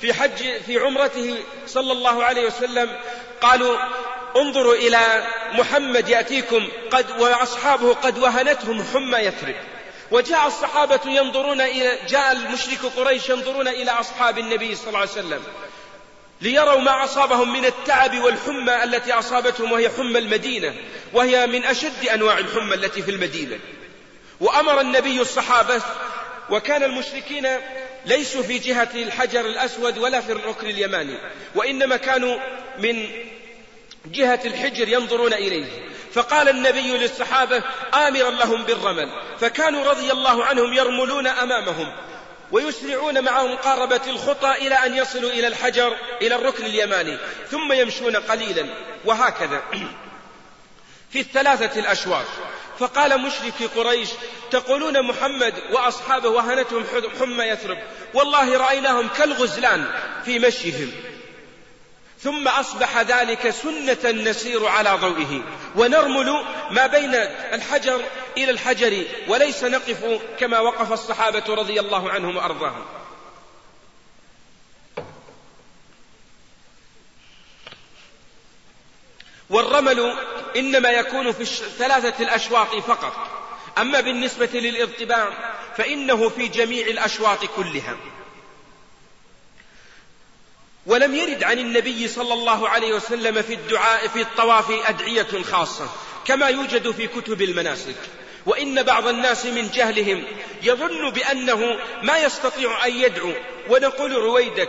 في حج في عمرته صلى الله عليه وسلم قالوا انظروا إلى محمد يأتيكم قد وأصحابه قد وهنتهم حمى يثرب وجاء الصحابة ينظرون إلى جاء المشرك قريش ينظرون إلى أصحاب النبي صلى الله عليه وسلم ليروا ما أصابهم من التعب والحمى التي أصابتهم وهي حمى المدينة وهي من أشد أنواع الحمى التي في المدينة وأمر النبي الصحابة وكان المشركين ليسوا في جهة الحجر الأسود ولا في الركن اليماني وإنما كانوا من جهة الحجر ينظرون إليه فقال النبي للصحابة آمرا لهم بالرمل فكانوا رضي الله عنهم يرملون أمامهم ويسرعون مع مقاربة الخطى إلى أن يصلوا إلى الحجر إلى الركن اليماني ثم يمشون قليلا وهكذا في الثلاثة الأشواط فقال مشرك قريش تقولون محمد وأصحابه وهنتهم حمى يثرب والله رأيناهم كالغزلان في مشيهم ثم أصبح ذلك سنة نسير على ضوئه ونرمل ما بين الحجر إلى الحجر وليس نقف كما وقف الصحابة رضي الله عنهم وأرضاهم والرمل إنما يكون في الثلاثة الأشواط فقط أما بالنسبة للارتباع فإنه في جميع الأشواط كلها ولم يرد عن النبي صلى الله عليه وسلم في الدعاء في الطواف أدعية خاصة كما يوجد في كتب المناسك وإن بعض الناس من جهلهم يظن بأنه ما يستطيع أن يدعو ونقول رويدك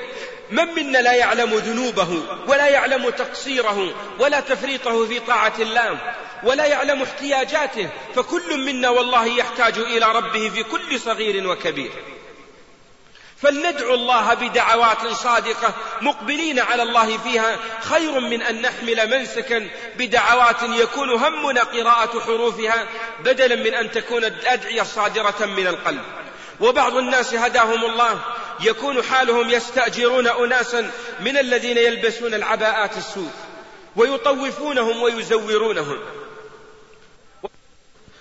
من منا لا يعلم ذنوبه ولا يعلم تقصيره ولا تفريطه في طاعة الله ولا يعلم احتياجاته فكل منا والله يحتاج إلى ربه في كل صغير وكبير فلندعو الله بدعوات صادقة مقبلين على الله فيها خير من أن نحمل منسكا بدعوات يكون همنا قراءة حروفها بدلا من أن تكون الأدعية صادرة من القلب وبعض الناس هداهم الله يكون حالهم يستأجرون أناسا من الذين يلبسون العباءات السود ويطوفونهم ويزورونهم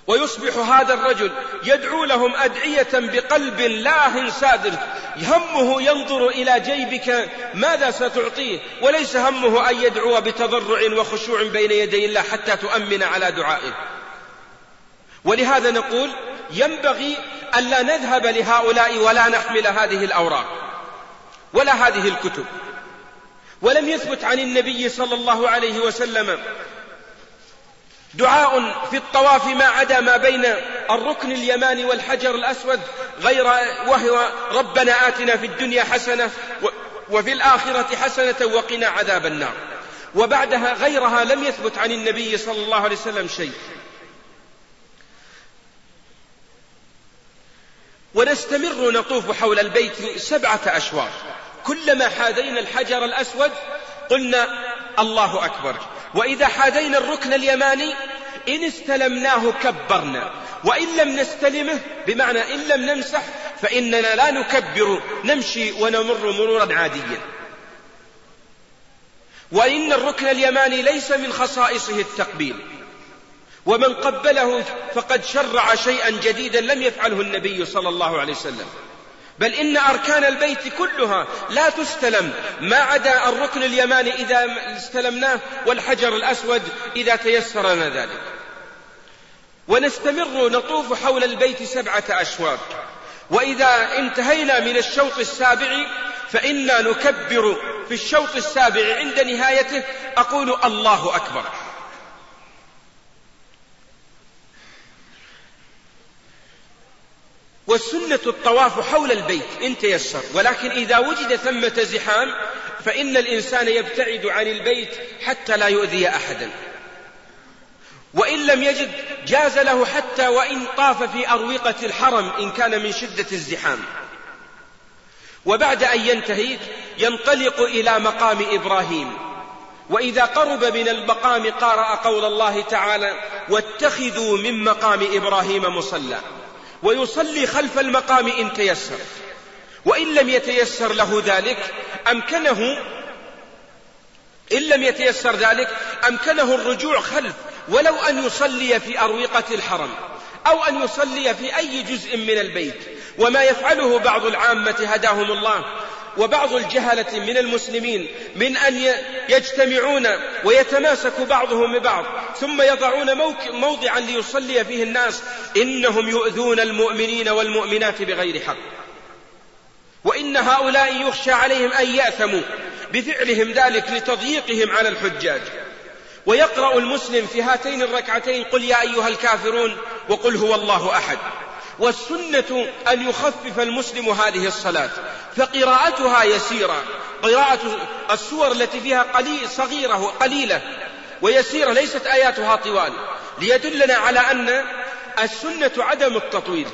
ويصبح هذا الرجل يدعو لهم أدعية بقلب لاه سادر همه ينظر إلى جيبك ماذا ستعطيه وليس همه أن يدعو بتضرع وخشوع بين يدي الله حتى تؤمن على دعائه ولهذا نقول ينبغي ألا نذهب لهؤلاء ولا نحمل هذه الأوراق ولا هذه الكتب ولم يثبت عن النبي صلى الله عليه وسلم دعاء في الطواف ما عدا ما بين الركن اليماني والحجر الأسود غير وهو ربنا آتنا في الدنيا حسنة وفي الآخرة حسنة وقنا عذاب النار وبعدها غيرها لم يثبت عن النبي صلى الله عليه وسلم شيء ونستمر نطوف حول البيت سبعة أشواط كلما حاذينا الحجر الأسود قلنا الله أكبر وإذا حاذينا الركن اليماني إن استلمناه كبرنا وإن لم نستلمه بمعنى إن لم نمسح فإننا لا نكبر نمشي ونمر مرورا عاديا وإن الركن اليماني ليس من خصائصه التقبيل ومن قبله فقد شرع شيئا جديدا لم يفعله النبي صلى الله عليه وسلم بل إن أركان البيت كلها لا تستلم ما عدا الركن اليماني إذا استلمناه والحجر الأسود إذا تيسر لنا ذلك ونستمر نطوف حول البيت سبعة أشواط وإذا انتهينا من الشوط السابع فإنا نكبر في الشوط السابع عند نهايته أقول الله أكبر والسنة الطواف حول البيت إن تيسر ولكن إذا وجد ثمة زحام فإن الإنسان يبتعد عن البيت حتى لا يؤذي أحدا وإن لم يجد جاز له حتى وإن طاف في أروقة الحرم إن كان من شدة الزحام وبعد أن ينتهي ينطلق إلى مقام إبراهيم وإذا قرب من المقام قارأ قول الله تعالى واتخذوا من مقام إبراهيم مصلى ويصلي خلف المقام إن تيسر وإن لم يتيسر له ذلك أمكنه إن لم يتيسر ذلك أمكنه الرجوع خلف ولو أن يصلي في أروقة الحرم أو أن يصلي في أي جزء من البيت وما يفعله بعض العامة هداهم الله وبعض الجهلة من المسلمين من أن يجتمعون ويتماسك بعضهم ببعض ثم يضعون موضعا ليصلي فيه الناس إنهم يؤذون المؤمنين والمؤمنات بغير حق وإن هؤلاء يخشى عليهم أن يأثموا بفعلهم ذلك لتضييقهم على الحجاج ويقرأ المسلم في هاتين الركعتين قل يا أيها الكافرون وقل هو الله أحد والسنة أن يخفف المسلم هذه الصلاة فقراءتها يسيرة قراءة السور التي فيها قليل صغيرة قليلة ويسيرة ليست آياتها طوال ليدلنا على أن السنة عدم التطويل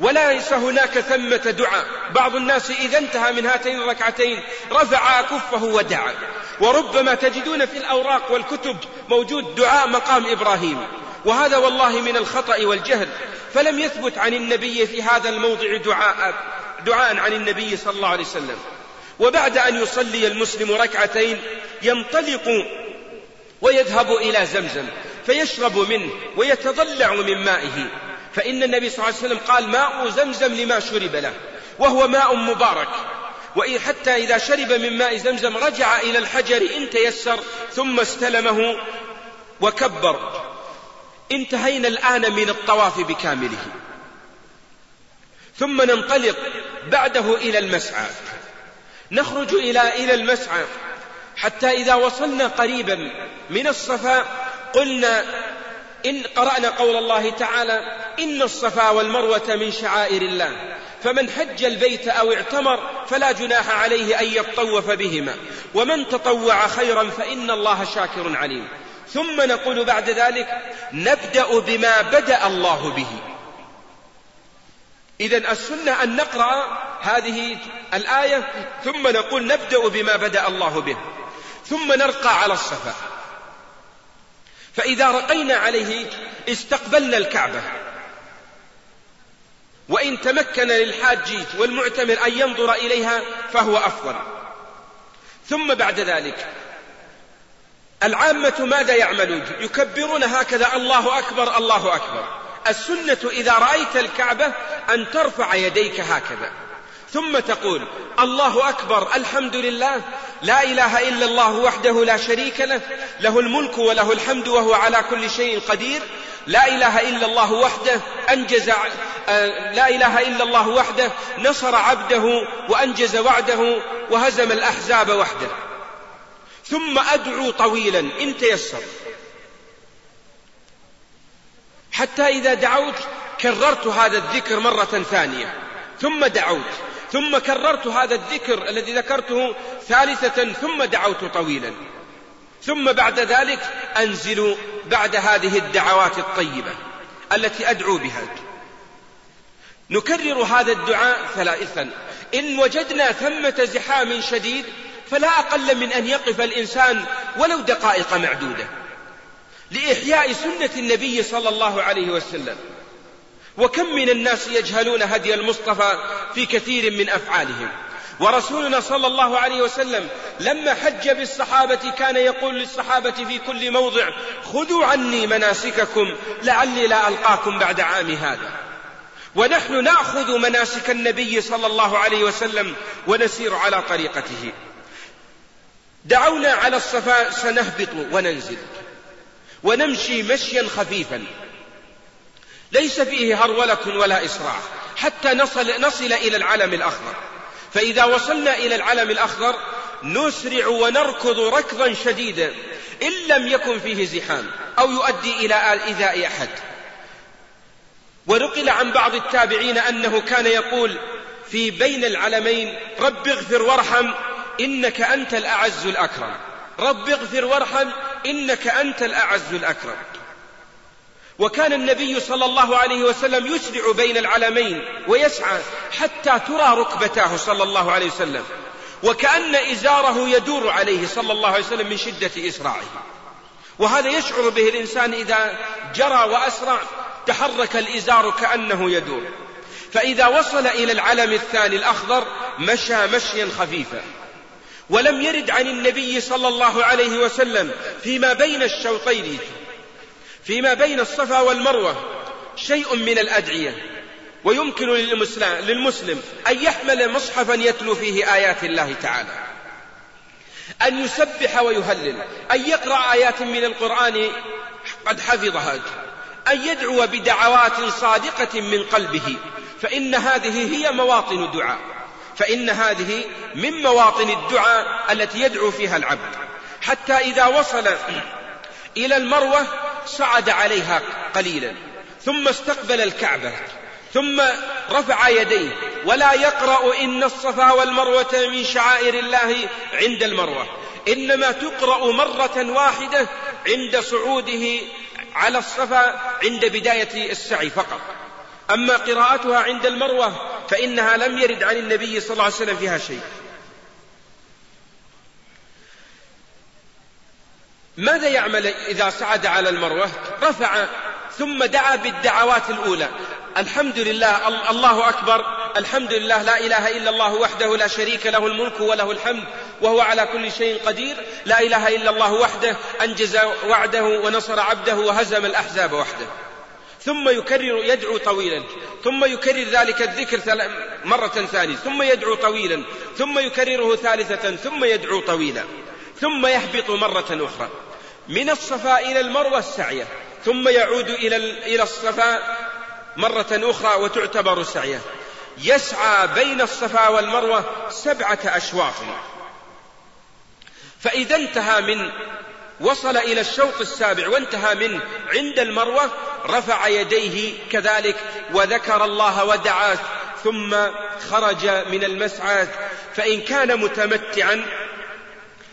وليس هناك ثمة دعاء بعض الناس إذا انتهى من هاتين الركعتين رفع كفه ودعا وربما تجدون في الأوراق والكتب موجود دعاء مقام إبراهيم وهذا والله من الخطأ والجهل فلم يثبت عن النبي في هذا الموضع دعاء دعاء عن النبي صلى الله عليه وسلم وبعد أن يصلي المسلم ركعتين ينطلق ويذهب إلى زمزم فيشرب منه ويتضلع من مائه فإن النبي صلى الله عليه وسلم قال ماء زمزم لما شرب له وهو ماء مبارك وإن حتى إذا شرب من ماء زمزم رجع إلى الحجر إن تيسر ثم استلمه وكبر انتهينا الآن من الطواف بكامله ثم ننطلق بعده إلى المسعى نخرج إلى إلى المسعى حتى إذا وصلنا قريبا من الصفا قلنا إن قرأنا قول الله تعالى إن الصفا والمروة من شعائر الله فمن حج البيت أو اعتمر فلا جناح عليه أن يطوف بهما ومن تطوع خيرا فإن الله شاكر عليم ثم نقول بعد ذلك نبدأ بما بدأ الله به إذا السنة أن نقرأ هذه الآية ثم نقول نبدأ بما بدأ الله به ثم نرقى على الصفا فإذا رقينا عليه استقبلنا الكعبة وإن تمكن للحاج والمعتمر أن ينظر إليها فهو أفضل ثم بعد ذلك العامة ماذا يعملون يكبرون هكذا الله أكبر الله أكبر السنة إذا رأيت الكعبة أن ترفع يديك هكذا ثم تقول الله أكبر الحمد لله لا إله إلا الله وحده لا شريك له له الملك وله الحمد وهو على كل شيء قدير لا إله إلا الله وحده أنجز آه، لا إله إلا الله وحده نصر عبده وأنجز وعده وهزم الأحزاب وحده ثم أدعو طويلا إن تيسر حتى إذا دعوت كررت هذا الذكر مرة ثانية ثم دعوت ثم كررت هذا الذكر الذي ذكرته ثالثة ثم دعوت طويلا ثم بعد ذلك أنزل بعد هذه الدعوات الطيبة التي أدعو بها نكرر هذا الدعاء ثلاثا إن وجدنا ثمة زحام شديد فلا أقل من أن يقف الإنسان ولو دقائق معدودة لإحياء سنة النبي صلى الله عليه وسلم وكم من الناس يجهلون هدي المصطفى في كثير من أفعالهم ورسولنا صلى الله عليه وسلم لما حج بالصحابة كان يقول للصحابة في كل موضع خذوا عني مناسككم لعلي لا ألقاكم بعد عام هذا ونحن نأخذ مناسك النبي صلى الله عليه وسلم ونسير على طريقته دعونا على الصفا سنهبط وننزل ونمشي مشيا خفيفا ليس فيه هرولة ولا إسراع حتى نصل, نصل إلى العلم الأخضر فإذا وصلنا إلى العلم الأخضر نسرع ونركض ركضا شديدا إن لم يكن فيه زحام أو يؤدي إلى إيذاء أحد ونقل عن بعض التابعين أنه كان يقول في بين العلمين رب اغفر وارحم إنك أنت الأعز الأكرم رب اغفر وارحم إنك أنت الأعز الأكرم وكان النبي صلى الله عليه وسلم يسرع بين العلمين ويسعى حتى ترى ركبتاه صلى الله عليه وسلم وكأن إزاره يدور عليه صلى الله عليه وسلم من شدة إسراعه وهذا يشعر به الإنسان إذا جرى وأسرع تحرك الإزار كأنه يدور فإذا وصل إلى العلم الثاني الأخضر مشى مشيا خفيفا ولم يرد عن النبي صلى الله عليه وسلم فيما بين الشوطين فيما بين الصفا والمروة شيء من الأدعية ويمكن للمسلم أن يحمل مصحفا يتلو فيه آيات الله تعالى أن يسبح ويهلل أن يقرأ آيات من القرآن قد حفظها أن يدعو بدعوات صادقة من قلبه فإن هذه هي مواطن الدعاء فإن هذه من مواطن الدعاء التي يدعو فيها العبد حتى إذا وصل إلى المروة صعد عليها قليلا ثم استقبل الكعبة ثم رفع يديه ولا يقرأ إن الصفا والمروة من شعائر الله عند المروة إنما تقرأ مرة واحدة عند صعوده على الصفا عند بداية السعي فقط أما قراءتها عند المروة فإنها لم يرد عن النبي صلى الله عليه وسلم فيها شيء ماذا يعمل إذا صعد على المروة رفع ثم دعا بالدعوات الأولى الحمد لله الله أكبر الحمد لله لا إله إلا الله وحده لا شريك له الملك وله الحمد وهو على كل شيء قدير لا إله إلا الله وحده أنجز وعده ونصر عبده وهزم الأحزاب وحده ثم يكرر يدعو طويلا ثم يكرر ذلك الذكر مرة ثانية ثم يدعو طويلا ثم يكرره ثالثة ثم يدعو طويلا ثم يهبط مرة أخرى من الصفا إلى المروة السعية ثم يعود إلى إلى الصفا مرة أخرى وتعتبر سعية يسعى بين الصفا والمروة سبعة أشواط فإذا انتهى من وصل إلى الشوط السابع وانتهى منه عند المروة رفع يديه كذلك وذكر الله ودعا ثم خرج من المسعى فإن كان متمتعا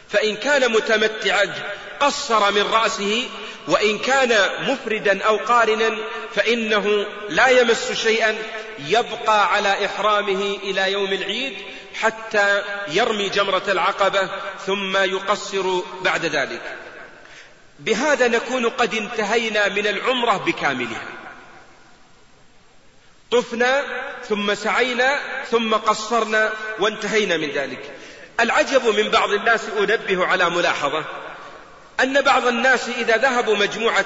فإن كان متمتعا قصر من رأسه وإن كان مفردا أو قارنا فإنه لا يمس شيئا يبقى على إحرامه إلى يوم العيد حتى يرمي جمرة العقبة ثم يقصر بعد ذلك بهذا نكون قد انتهينا من العمرة بكاملها طفنا ثم سعينا ثم قصرنا وانتهينا من ذلك العجب من بعض الناس أنبه على ملاحظة أن بعض الناس إذا ذهبوا مجموعة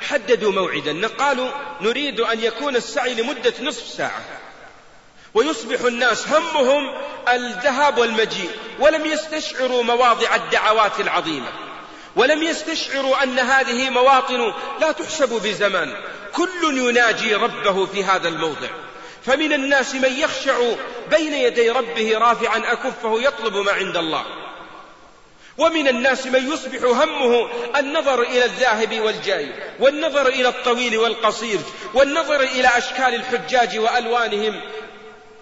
حددوا موعدا قالوا نريد أن يكون السعي لمدة نصف ساعة ويصبح الناس همهم الذهاب والمجيء ولم يستشعروا مواضع الدعوات العظيمة ولم يستشعروا أن هذه مواطن لا تحسب بزمان كل يناجي ربه في هذا الموضع فمن الناس من يخشع بين يدي ربه رافعا أكفه يطلب ما عند الله ومن الناس من يصبح همه النظر إلى الذاهب والجاي والنظر إلى الطويل والقصير والنظر إلى أشكال الحجاج وألوانهم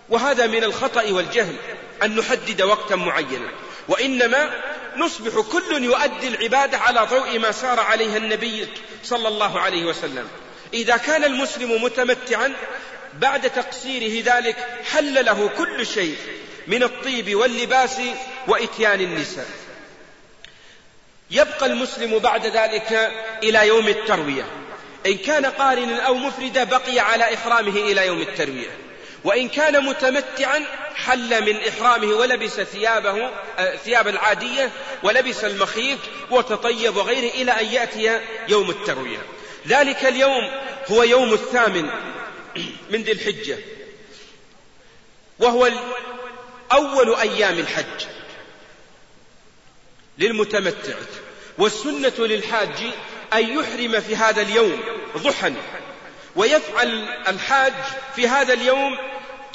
وهذا من الخطأ والجهل أن نحدد وقتا معينا وإنما نصبح كل يؤدي العبادة على ضوء ما سار عليه النبي صلى الله عليه وسلم إذا كان المسلم متمتعا بعد تقصيره ذلك حل له كل شيء من الطيب واللباس وإتيان النساء يبقى المسلم بعد ذلك إلى يوم التروية إن كان قارنا أو مفردا بقي على إحرامه إلى يوم التروية وإن كان متمتعا حل من إحرامه ولبس ثيابه آه، ثياب العادية ولبس المخيط وتطيب وغيره إلى أن يأتي يوم التروية ذلك اليوم هو يوم الثامن من ذي الحجة وهو أول أيام الحج للمتمتع والسنة للحاج أن يحرم في هذا اليوم ضحى ويفعل الحاج في هذا اليوم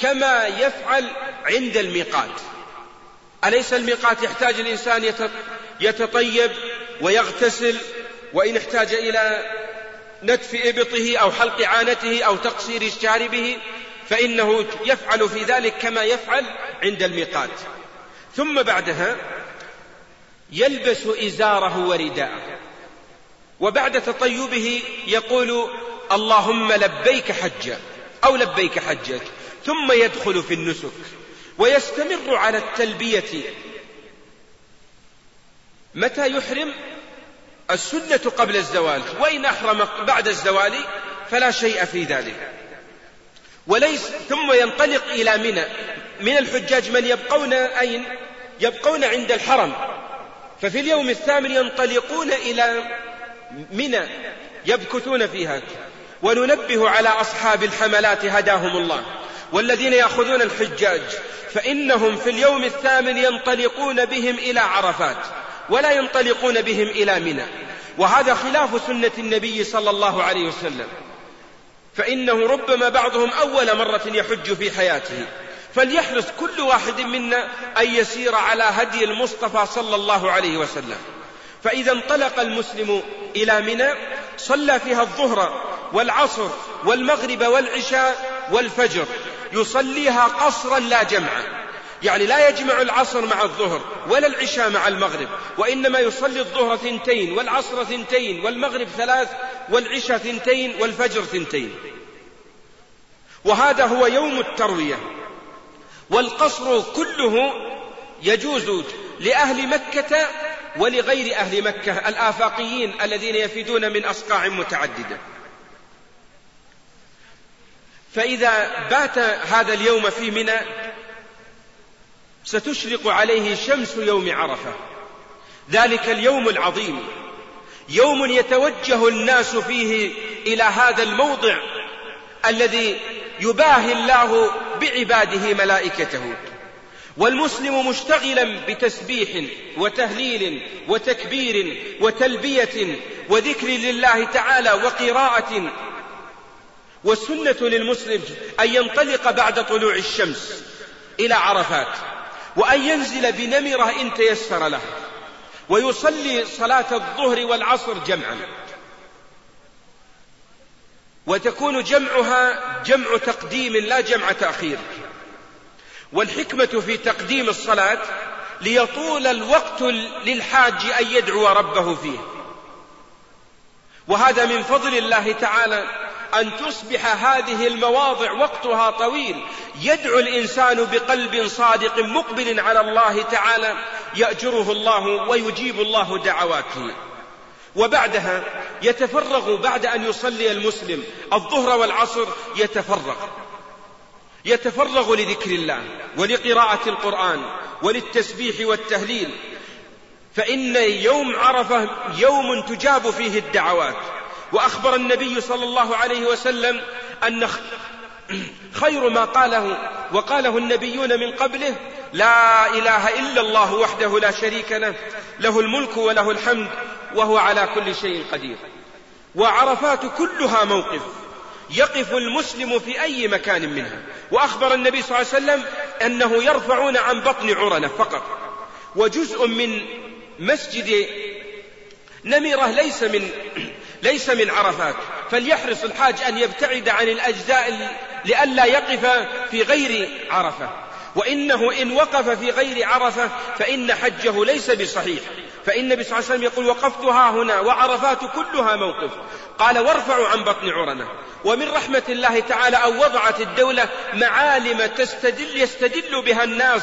كما يفعل عند الميقات أليس الميقات يحتاج الإنسان يتطيب ويغتسل وإن احتاج إلى نتف إبطه أو حلق عانته أو تقصير شاربه فإنه يفعل في ذلك كما يفعل عند الميقات ثم بعدها يلبس إزاره ورداءه وبعد تطيبه يقول اللهم لبيك حجا أو لبيك حجك ثم يدخل في النسك ويستمر على التلبية متى يحرم السنة قبل الزوال وإن أحرم بعد الزوال فلا شيء في ذلك وليس ثم ينطلق إلى منى من الحجاج من يبقون أين يبقون عند الحرم ففي اليوم الثامن ينطلقون إلى منى يبكثون فيها وننبه على أصحاب الحملات هداهم الله والذين يأخذون الحجاج فإنهم في اليوم الثامن ينطلقون بهم إلى عرفات ولا ينطلقون بهم إلى منى وهذا خلاف سنة النبي صلى الله عليه وسلم فإنه ربما بعضهم أول مرة يحج في حياته فليحرص كل واحد منا أن يسير على هدي المصطفى صلى الله عليه وسلم فإذا انطلق المسلم إلى منى صلى فيها الظهر والعصر والمغرب والعشاء والفجر يصليها قصرا لا جمعا يعني لا يجمع العصر مع الظهر ولا العشاء مع المغرب وإنما يصلي الظهر ثنتين والعصر ثنتين والمغرب ثلاث والعشاء ثنتين والفجر ثنتين وهذا هو يوم التروية والقصر كله يجوز لأهل مكة ولغير أهل مكة الآفاقيين الذين يفيدون من أصقاع متعددة فإذا بات هذا اليوم في منى ستشرق عليه شمس يوم عرفة ذلك اليوم العظيم يوم يتوجه الناس فيه إلى هذا الموضع الذي يباهي الله بعباده ملائكته والمسلم مشتغلا بتسبيح وتهليل وتكبير وتلبية وذكر لله تعالى وقراءة والسنة للمسلم أن ينطلق بعد طلوع الشمس إلى عرفات وأن ينزل بنمرة إن تيسر له ويصلي صلاة الظهر والعصر جمعا وتكون جمعها جمع تقديم لا جمع تأخير والحكمة في تقديم الصلاة ليطول الوقت للحاج أن يدعو ربه فيه وهذا من فضل الله تعالى أن تصبح هذه المواضع وقتها طويل يدعو الإنسان بقلب صادق مقبل على الله تعالى يأجره الله ويجيب الله دعواته وبعدها يتفرغ بعد أن يصلي المسلم الظهر والعصر يتفرغ يتفرغ لذكر الله ولقراءة القرآن وللتسبيح والتهليل فإن يوم عرفة يوم تجاب فيه الدعوات وأخبر النبي صلى الله عليه وسلم أن خير ما قاله وقاله النبيون من قبله لا إله إلا الله وحده لا شريك له له الملك وله الحمد وهو على كل شيء قدير وعرفات كلها موقف يقف المسلم في أي مكان منها وأخبر النبي صلى الله عليه وسلم أنه يرفعون عن بطن عرنة فقط وجزء من مسجد نمرة ليس من ليس من عرفات فليحرص الحاج أن يبتعد عن الأجزاء لئلا يقف في غير عرفة وإنه إن وقف في غير عرفة فإن حجه ليس بصحيح فإن النبي صلى الله عليه وسلم يقول وقفتها هنا وعرفات كلها موقف قال وارفعوا عن بطن عرنة ومن رحمة الله تعالى أن وضعت الدولة معالم تستدل يستدل بها الناس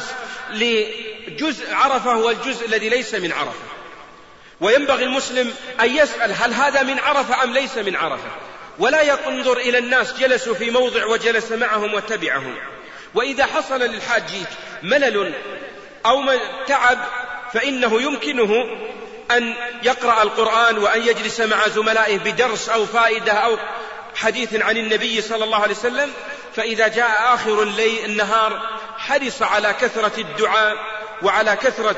لجزء عرفة والجزء الذي ليس من عرفة وينبغي المسلم أن يسأل هل هذا من عرفة أم ليس من عرفة ولا ينظر إلى الناس جلسوا في موضع وجلس معهم وتبعهم وإذا حصل للحاج ملل أو تعب فإنه يمكنه أن يقرأ القرآن وأن يجلس مع زملائه بدرس أو فائدة أو حديث عن النبي صلى الله عليه وسلم فإذا جاء آخر الليل النهار حرص على كثرة الدعاء وعلى كثرة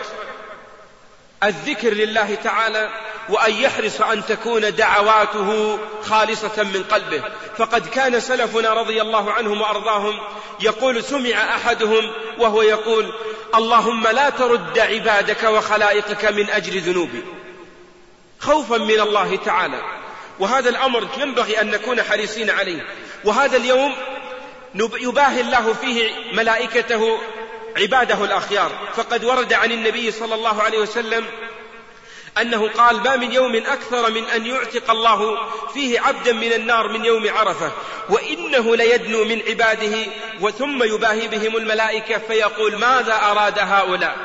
الذكر لله تعالى وأن يحرص أن تكون دعواته خالصة من قلبه فقد كان سلفنا رضي الله عنهم وأرضاهم يقول سمع أحدهم وهو يقول اللهم لا ترد عبادك وخلائقك من أجل ذنوبي خوفا من الله تعالى وهذا الأمر ينبغي أن نكون حريصين عليه وهذا اليوم يباهي الله فيه ملائكته عباده الأخيار فقد ورد عن النبي صلى الله عليه وسلم أنه قال ما من يوم أكثر من أن يعتق الله فيه عبدا من النار من يوم عرفة وإنه ليدنو من عباده وثم يباهي بهم الملائكة فيقول ماذا أراد هؤلاء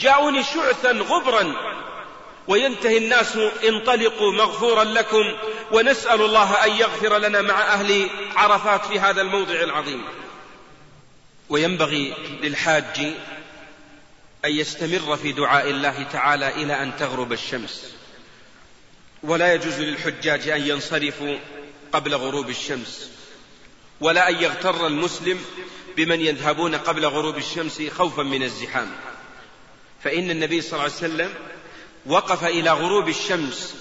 جاءوني شعثا غبرا وينتهي الناس انطلقوا مغفورا لكم ونسأل الله أن يغفر لنا مع أهل عرفات في هذا الموضع العظيم وينبغي للحاج أن يستمر في دعاء الله تعالى إلى أن تغرب الشمس ولا يجوز للحجاج أن ينصرفوا قبل غروب الشمس ولا أن يغتر المسلم بمن يذهبون قبل غروب الشمس خوفا من الزحام فإن النبي صلى الله عليه وسلم وقف إلى غروب الشمس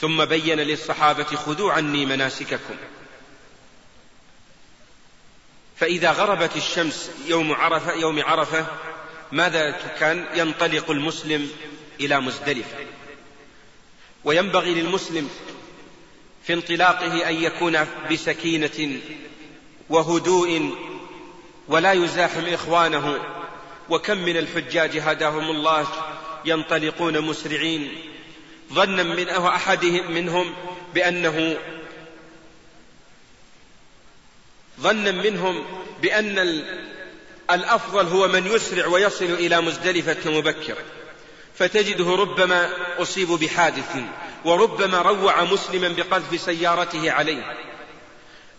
ثم بين للصحابة خذوا عني مناسككم فإذا غربت الشمس يوم عرفة, يوم عرفة ماذا كان ينطلق المسلم إلى مزدلفة وينبغي للمسلم في انطلاقه أن يكون بسكينة وهدوء ولا يزاحم إخوانه وكم من الحجاج هداهم الله ينطلقون مسرعين ظنا من أحدهم منهم بأنه ظنا منهم بأن الأفضل هو من يسرع ويصل إلى مزدلفة مبكرا فتجده ربما أصيب بحادث وربما روع مسلما بقذف سيارته عليه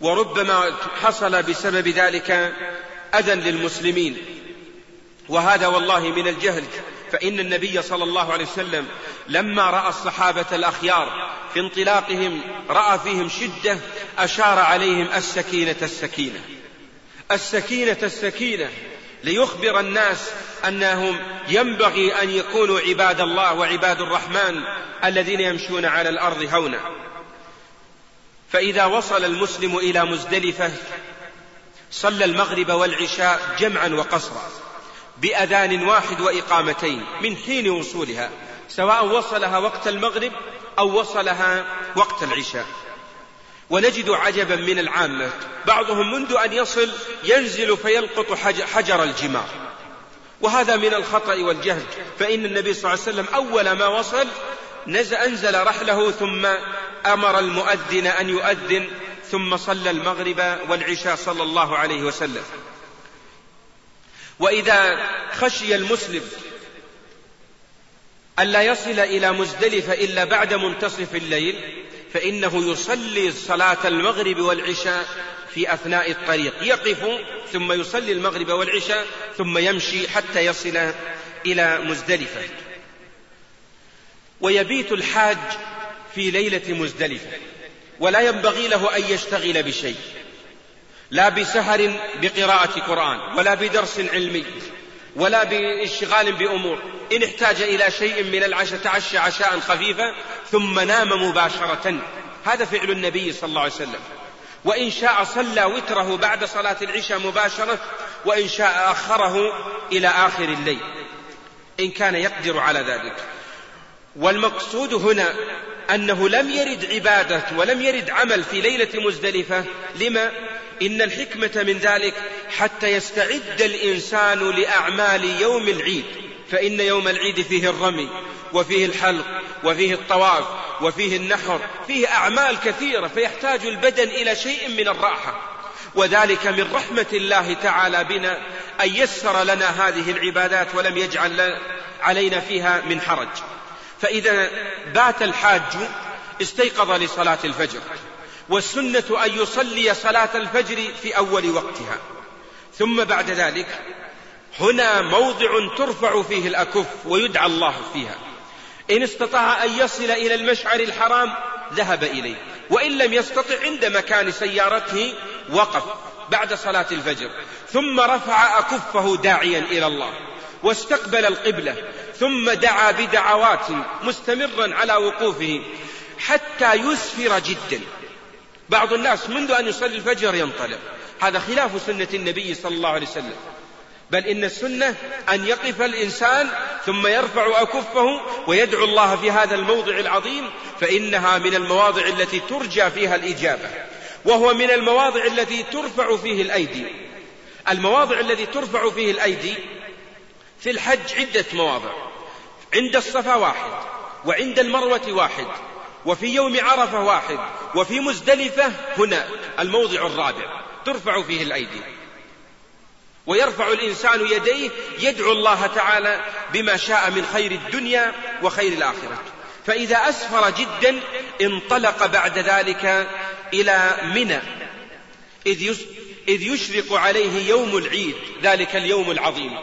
وربما حصل بسبب ذلك أذى للمسلمين وهذا والله من الجهل فإن النبي صلى الله عليه وسلم لما رأى الصحابة الأخيار في انطلاقهم رأى فيهم شدة أشار عليهم السكينة السكينة السكينة السكينة ليخبر الناس أنهم ينبغي أن يكونوا عباد الله وعباد الرحمن الذين يمشون على الأرض هونا فإذا وصل المسلم إلى مزدلفة صلى المغرب والعشاء جمعا وقصرا بأذان واحد وإقامتين من حين وصولها سواء وصلها وقت المغرب أو وصلها وقت العشاء ونجد عجبا من العامة بعضهم منذ أن يصل ينزل فيلقط حجر الجمار وهذا من الخطأ والجهل فإن النبي صلى الله عليه وسلم أول ما وصل أنزل رحله ثم أمر المؤذن أن يؤذن ثم صلى المغرب والعشاء صلى الله عليه وسلم وإذا خشي المسلم ألا يصل إلى مزدلفة إلا بعد منتصف الليل فإنه يصلي صلاة المغرب والعشاء في أثناء الطريق يقف ثم يصلي المغرب والعشاء ثم يمشي حتى يصل إلى مزدلفة ويبيت الحاج في ليلة مزدلفة ولا ينبغي له أن يشتغل بشيء لا بسهر بقراءة قرآن ولا بدرس علمي ولا باشتغال بأمور إن احتاج إلى شيء من العشاء تعشى عشاء خفيفا ثم نام مباشرة هذا فعل النبي صلى الله عليه وسلم وإن شاء صلى وتره بعد صلاة العشاء مباشرة وإن شاء أخره إلى آخر الليل إن كان يقدر على ذلك والمقصود هنا أنه لم يرد عبادة ولم يرد عمل في ليلة مزدلفة لما إن الحكمة من ذلك حتى يستعد الإنسان لأعمال يوم العيد فإن يوم العيد فيه الرمي وفيه الحلق وفيه الطواف وفيه النحر فيه أعمال كثيرة فيحتاج البدن إلى شيء من الراحة وذلك من رحمة الله تعالى بنا أن يسر لنا هذه العبادات ولم يجعل علينا فيها من حرج فإذا بات الحاج استيقظ لصلاة الفجر والسنة أن يصلي صلاة الفجر في أول وقتها ثم بعد ذلك هنا موضع ترفع فيه الأكف ويدعى الله فيها إن استطاع أن يصل إلى المشعر الحرام ذهب إليه وإن لم يستطع عند مكان سيارته وقف بعد صلاة الفجر ثم رفع أكفه داعيا إلى الله واستقبل القبلة ثم دعا بدعوات مستمرا على وقوفه حتى يسفر جدا بعض الناس منذ أن يصلي الفجر ينطلق هذا خلاف سنة النبي صلى الله عليه وسلم بل إن السنة أن يقف الإنسان ثم يرفع أكفه ويدعو الله في هذا الموضع العظيم فإنها من المواضع التي ترجى فيها الإجابة وهو من المواضع التي ترفع فيه الأيدي المواضع الذي ترفع فيه الأيدي في الحج عدة مواضع عند الصفا واحد وعند المروة واحد وفي يوم عرفة واحد وفي مزدلفة هنا الموضع الرابع ترفع فيه الأيدي ويرفع الإنسان يديه يدعو الله تعالى بما شاء من خير الدنيا وخير الآخرة فإذا أسفر جدا انطلق بعد ذلك إلى منى إذ, يس إذ يشرق عليه يوم العيد ذلك اليوم العظيم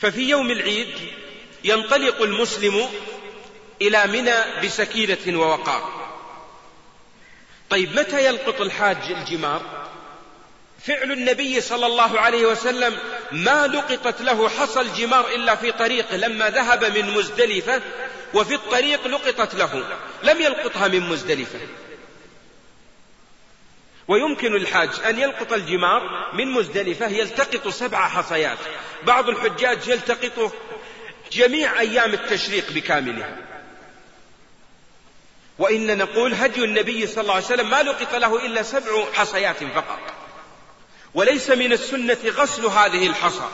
ففي يوم العيد ينطلق المسلم إلى منى بسكينة ووقار طيب متى يلقط الحاج الجمار فعل النبي صلى الله عليه وسلم ما لقطت له حصى الجمار إلا في طريقه لما ذهب من مزدلفة وفي الطريق لقطت له لم يلقطها من مزدلفة ويمكن الحاج أن يلقط الجمار من مزدلفة يلتقط سبع حصيات بعض الحجاج يلتقطه جميع أيام التشريق بكاملها وإن نقول هدي النبي صلى الله عليه وسلم ما لقط له إلا سبع حصيات فقط وليس من السنة غسل هذه الحصى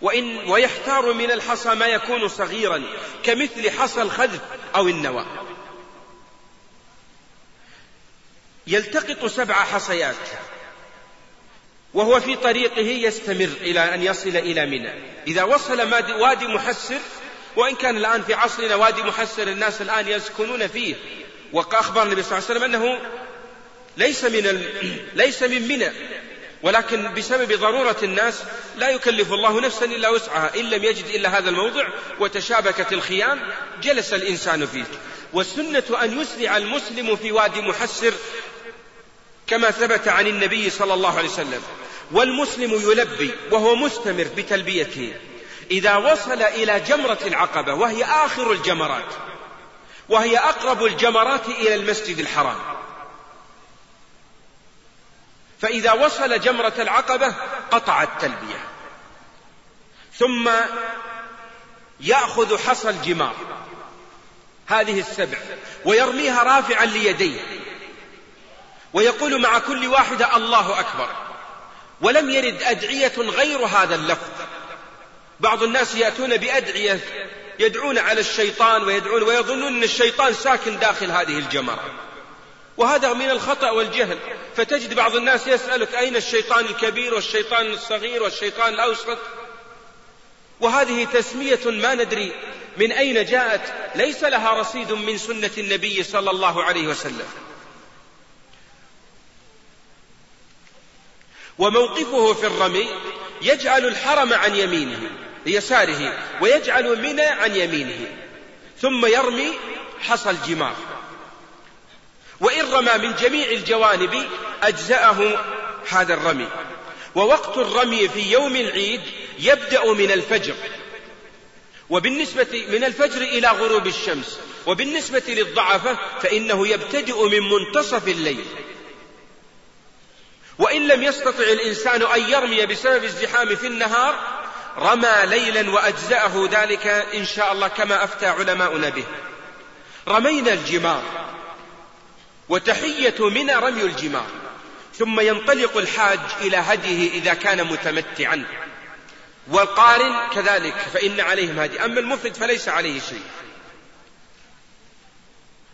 وإن ويحتار من الحصى ما يكون صغيرا كمثل حصى الخذف أو النوى يلتقط سبع حصيات وهو في طريقه يستمر إلى أن يصل إلى منى إذا وصل وادي محسر وإن كان الآن في عصرنا وادي محسر الناس الآن يسكنون فيه وأخبر النبي صلى الله عليه وسلم أنه ليس من ال... ليس من منى ولكن بسبب ضرورة الناس لا يكلف الله نفسا إلا وسعها إن لم يجد إلا هذا الموضع وتشابكت الخيام جلس الإنسان فيه والسنة أن يسرع المسلم في وادي محسر كما ثبت عن النبي صلى الله عليه وسلم والمسلم يلبي وهو مستمر بتلبيته إذا وصل إلى جمرة العقبة وهي آخر الجمرات وهي أقرب الجمرات إلى المسجد الحرام فإذا وصل جمرة العقبة قطع التلبية ثم يأخذ حصى الجمار هذه السبع ويرميها رافعا ليديه ويقول مع كل واحدة الله أكبر ولم يرد أدعية غير هذا اللفظ بعض الناس يأتون بأدعية يدعون على الشيطان ويدعون ويظنون أن الشيطان ساكن داخل هذه الجمرة وهذا من الخطأ والجهل فتجد بعض الناس يسألك أين الشيطان الكبير والشيطان الصغير والشيطان الأوسط وهذه تسمية ما ندري من أين جاءت ليس لها رصيد من سنة النبي صلى الله عليه وسلم وموقفه في الرمي يجعل الحرم عن يمينه يساره ويجعل منى عن يمينه ثم يرمي حصى الجمار وإن رمى من جميع الجوانب أجزأه هذا الرمي ووقت الرمي في يوم العيد يبدأ من الفجر وبالنسبة من الفجر إلى غروب الشمس وبالنسبة للضعفة فإنه يبتدئ من منتصف الليل وإن لم يستطع الإنسان أن يرمي بسبب الزحام في النهار رمى ليلا وأجزأه ذلك إن شاء الله كما أفتى علماؤنا به رمينا الجمار وتحية منى رمي الجمار ثم ينطلق الحاج إلى هديه إذا كان متمتعا والقارن كذلك فإن عليهم هدي أما المفرد فليس عليه شيء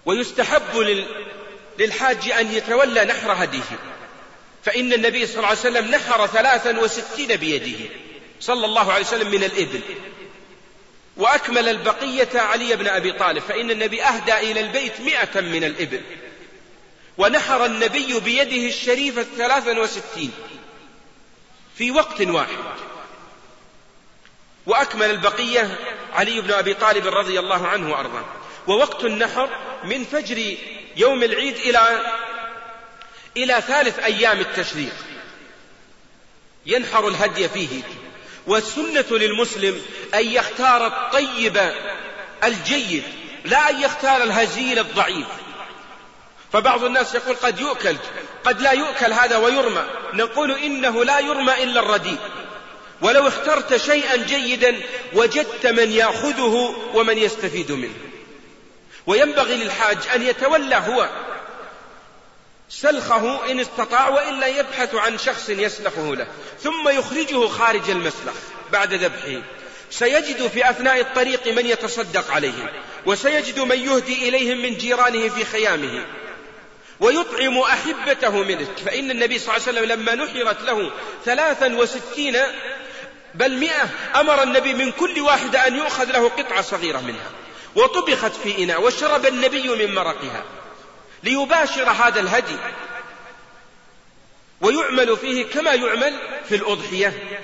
ويستحب للحاج أن يتولى نحر هديه فإن النبي صلى الله عليه وسلم نحر ثلاثا وستين بيده صلى الله عليه وسلم من الإبل وأكمل البقية علي بن أبي طالب فإن النبي أهدى إلى البيت مئة من الإبل ونحر النبي بيده الشريفة ثلاثا وستين في وقت واحد وأكمل البقية علي بن أبي طالب رضي الله عنه وأرضاه ووقت النحر من فجر يوم العيد إلى إلى ثالث أيام التشريق ينحر الهدي فيه والسنة للمسلم أن يختار الطيب الجيد لا أن يختار الهزيل الضعيف فبعض الناس يقول قد يؤكل قد لا يؤكل هذا ويرمى نقول إنه لا يرمى إلا الرديء ولو اخترت شيئا جيدا وجدت من يأخذه ومن يستفيد منه وينبغي للحاج أن يتولى هو سلخه إن استطاع وإلا يبحث عن شخص يسلخه له ثم يخرجه خارج المسلخ بعد ذبحه سيجد في أثناء الطريق من يتصدق عليهم وسيجد من يهدي إليهم من جيرانه في خيامه ويطعم أحبته منه فإن النبي صلى الله عليه وسلم لما نحرت له ثلاثا وستين بل مئة أمر النبي من كل واحد أن يؤخذ له قطعة صغيرة منها وطبخت في إناء وشرب النبي من مرقها ليباشر هذا الهدي ويعمل فيه كما يعمل في الأضحية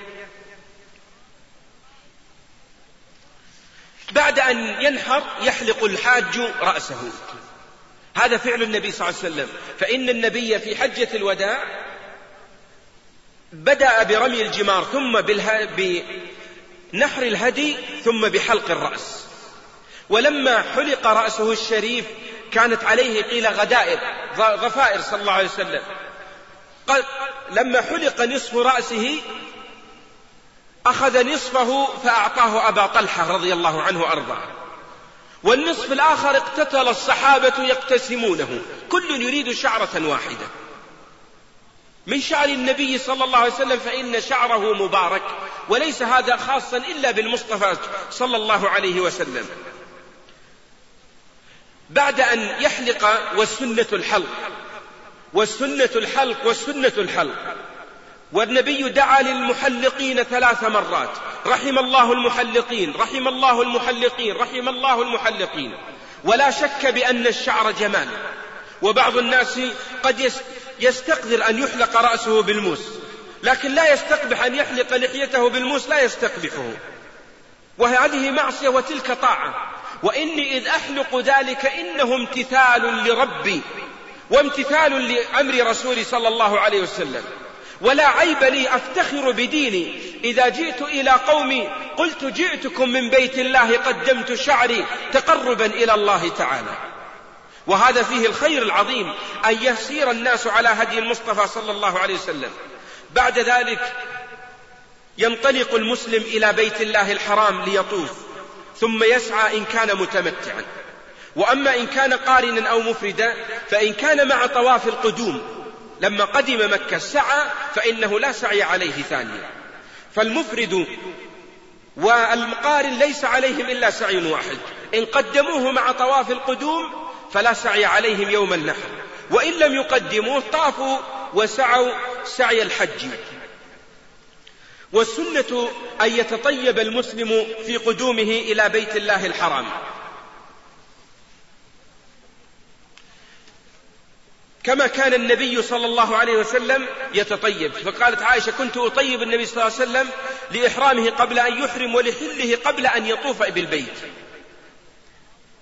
بعد أن ينحر يحلق الحاج رأسه هذا فعل النبي صلى الله عليه وسلم فإن النبي في حجة الوداع بدأ برمي الجمار ثم بالها... بنحر الهدي ثم بحلق الرأس ولما حلق رأسه الشريف كانت عليه قيل غدائر غفائر صلى الله عليه وسلم قال لما حلق نصف رأسه أخذ نصفه فأعطاه أبا طلحة رضي الله عنه أرضاه والنصف الآخر اقتتل الصحابة يقتسمونه كل يريد شعرة واحدة من شعر النبي صلى الله عليه وسلم فإن شعره مبارك وليس هذا خاصا إلا بالمصطفى صلى الله عليه وسلم بعد أن يحلق والسنة الحلق والسنة الحلق والسنة الحلق والنبي دعا للمحلقين ثلاث مرات رحم الله المحلقين رحم الله المحلقين رحم الله المحلقين ولا شك بأن الشعر جمال وبعض الناس قد يستقدر أن يحلق رأسه بالموس لكن لا يستقبح أن يحلق لحيته بالموس لا يستقبحه وهذه معصية وتلك طاعة وإني إذ أحلق ذلك إنه امتثال لربي وامتثال لأمر رسولي صلى الله عليه وسلم ولا عيب لي أفتخر بديني إذا جئت إلى قومي قلت جئتكم من بيت الله قدمت شعري تقربا إلى الله تعالى وهذا فيه الخير العظيم أن يسير الناس على هدي المصطفى صلى الله عليه وسلم بعد ذلك ينطلق المسلم إلى بيت الله الحرام ليطوف ثم يسعى إن كان متمتعا وأما إن كان قارنا أو مفردا فإن كان مع طواف القدوم لما قدم مكة سعى فإنه لا سعي عليه ثانيا فالمفرد والمقارن ليس عليهم إلا سعي واحد إن قدموه مع طواف القدوم فلا سعي عليهم يوم النحر وإن لم يقدموه طافوا وسعوا سعي الحج والسنة أن يتطيب المسلم في قدومه إلى بيت الله الحرام كما كان النبي صلى الله عليه وسلم يتطيب فقالت عائشة كنت أطيب النبي صلى الله عليه وسلم لإحرامه قبل أن يحرم ولحله قبل أن يطوف بالبيت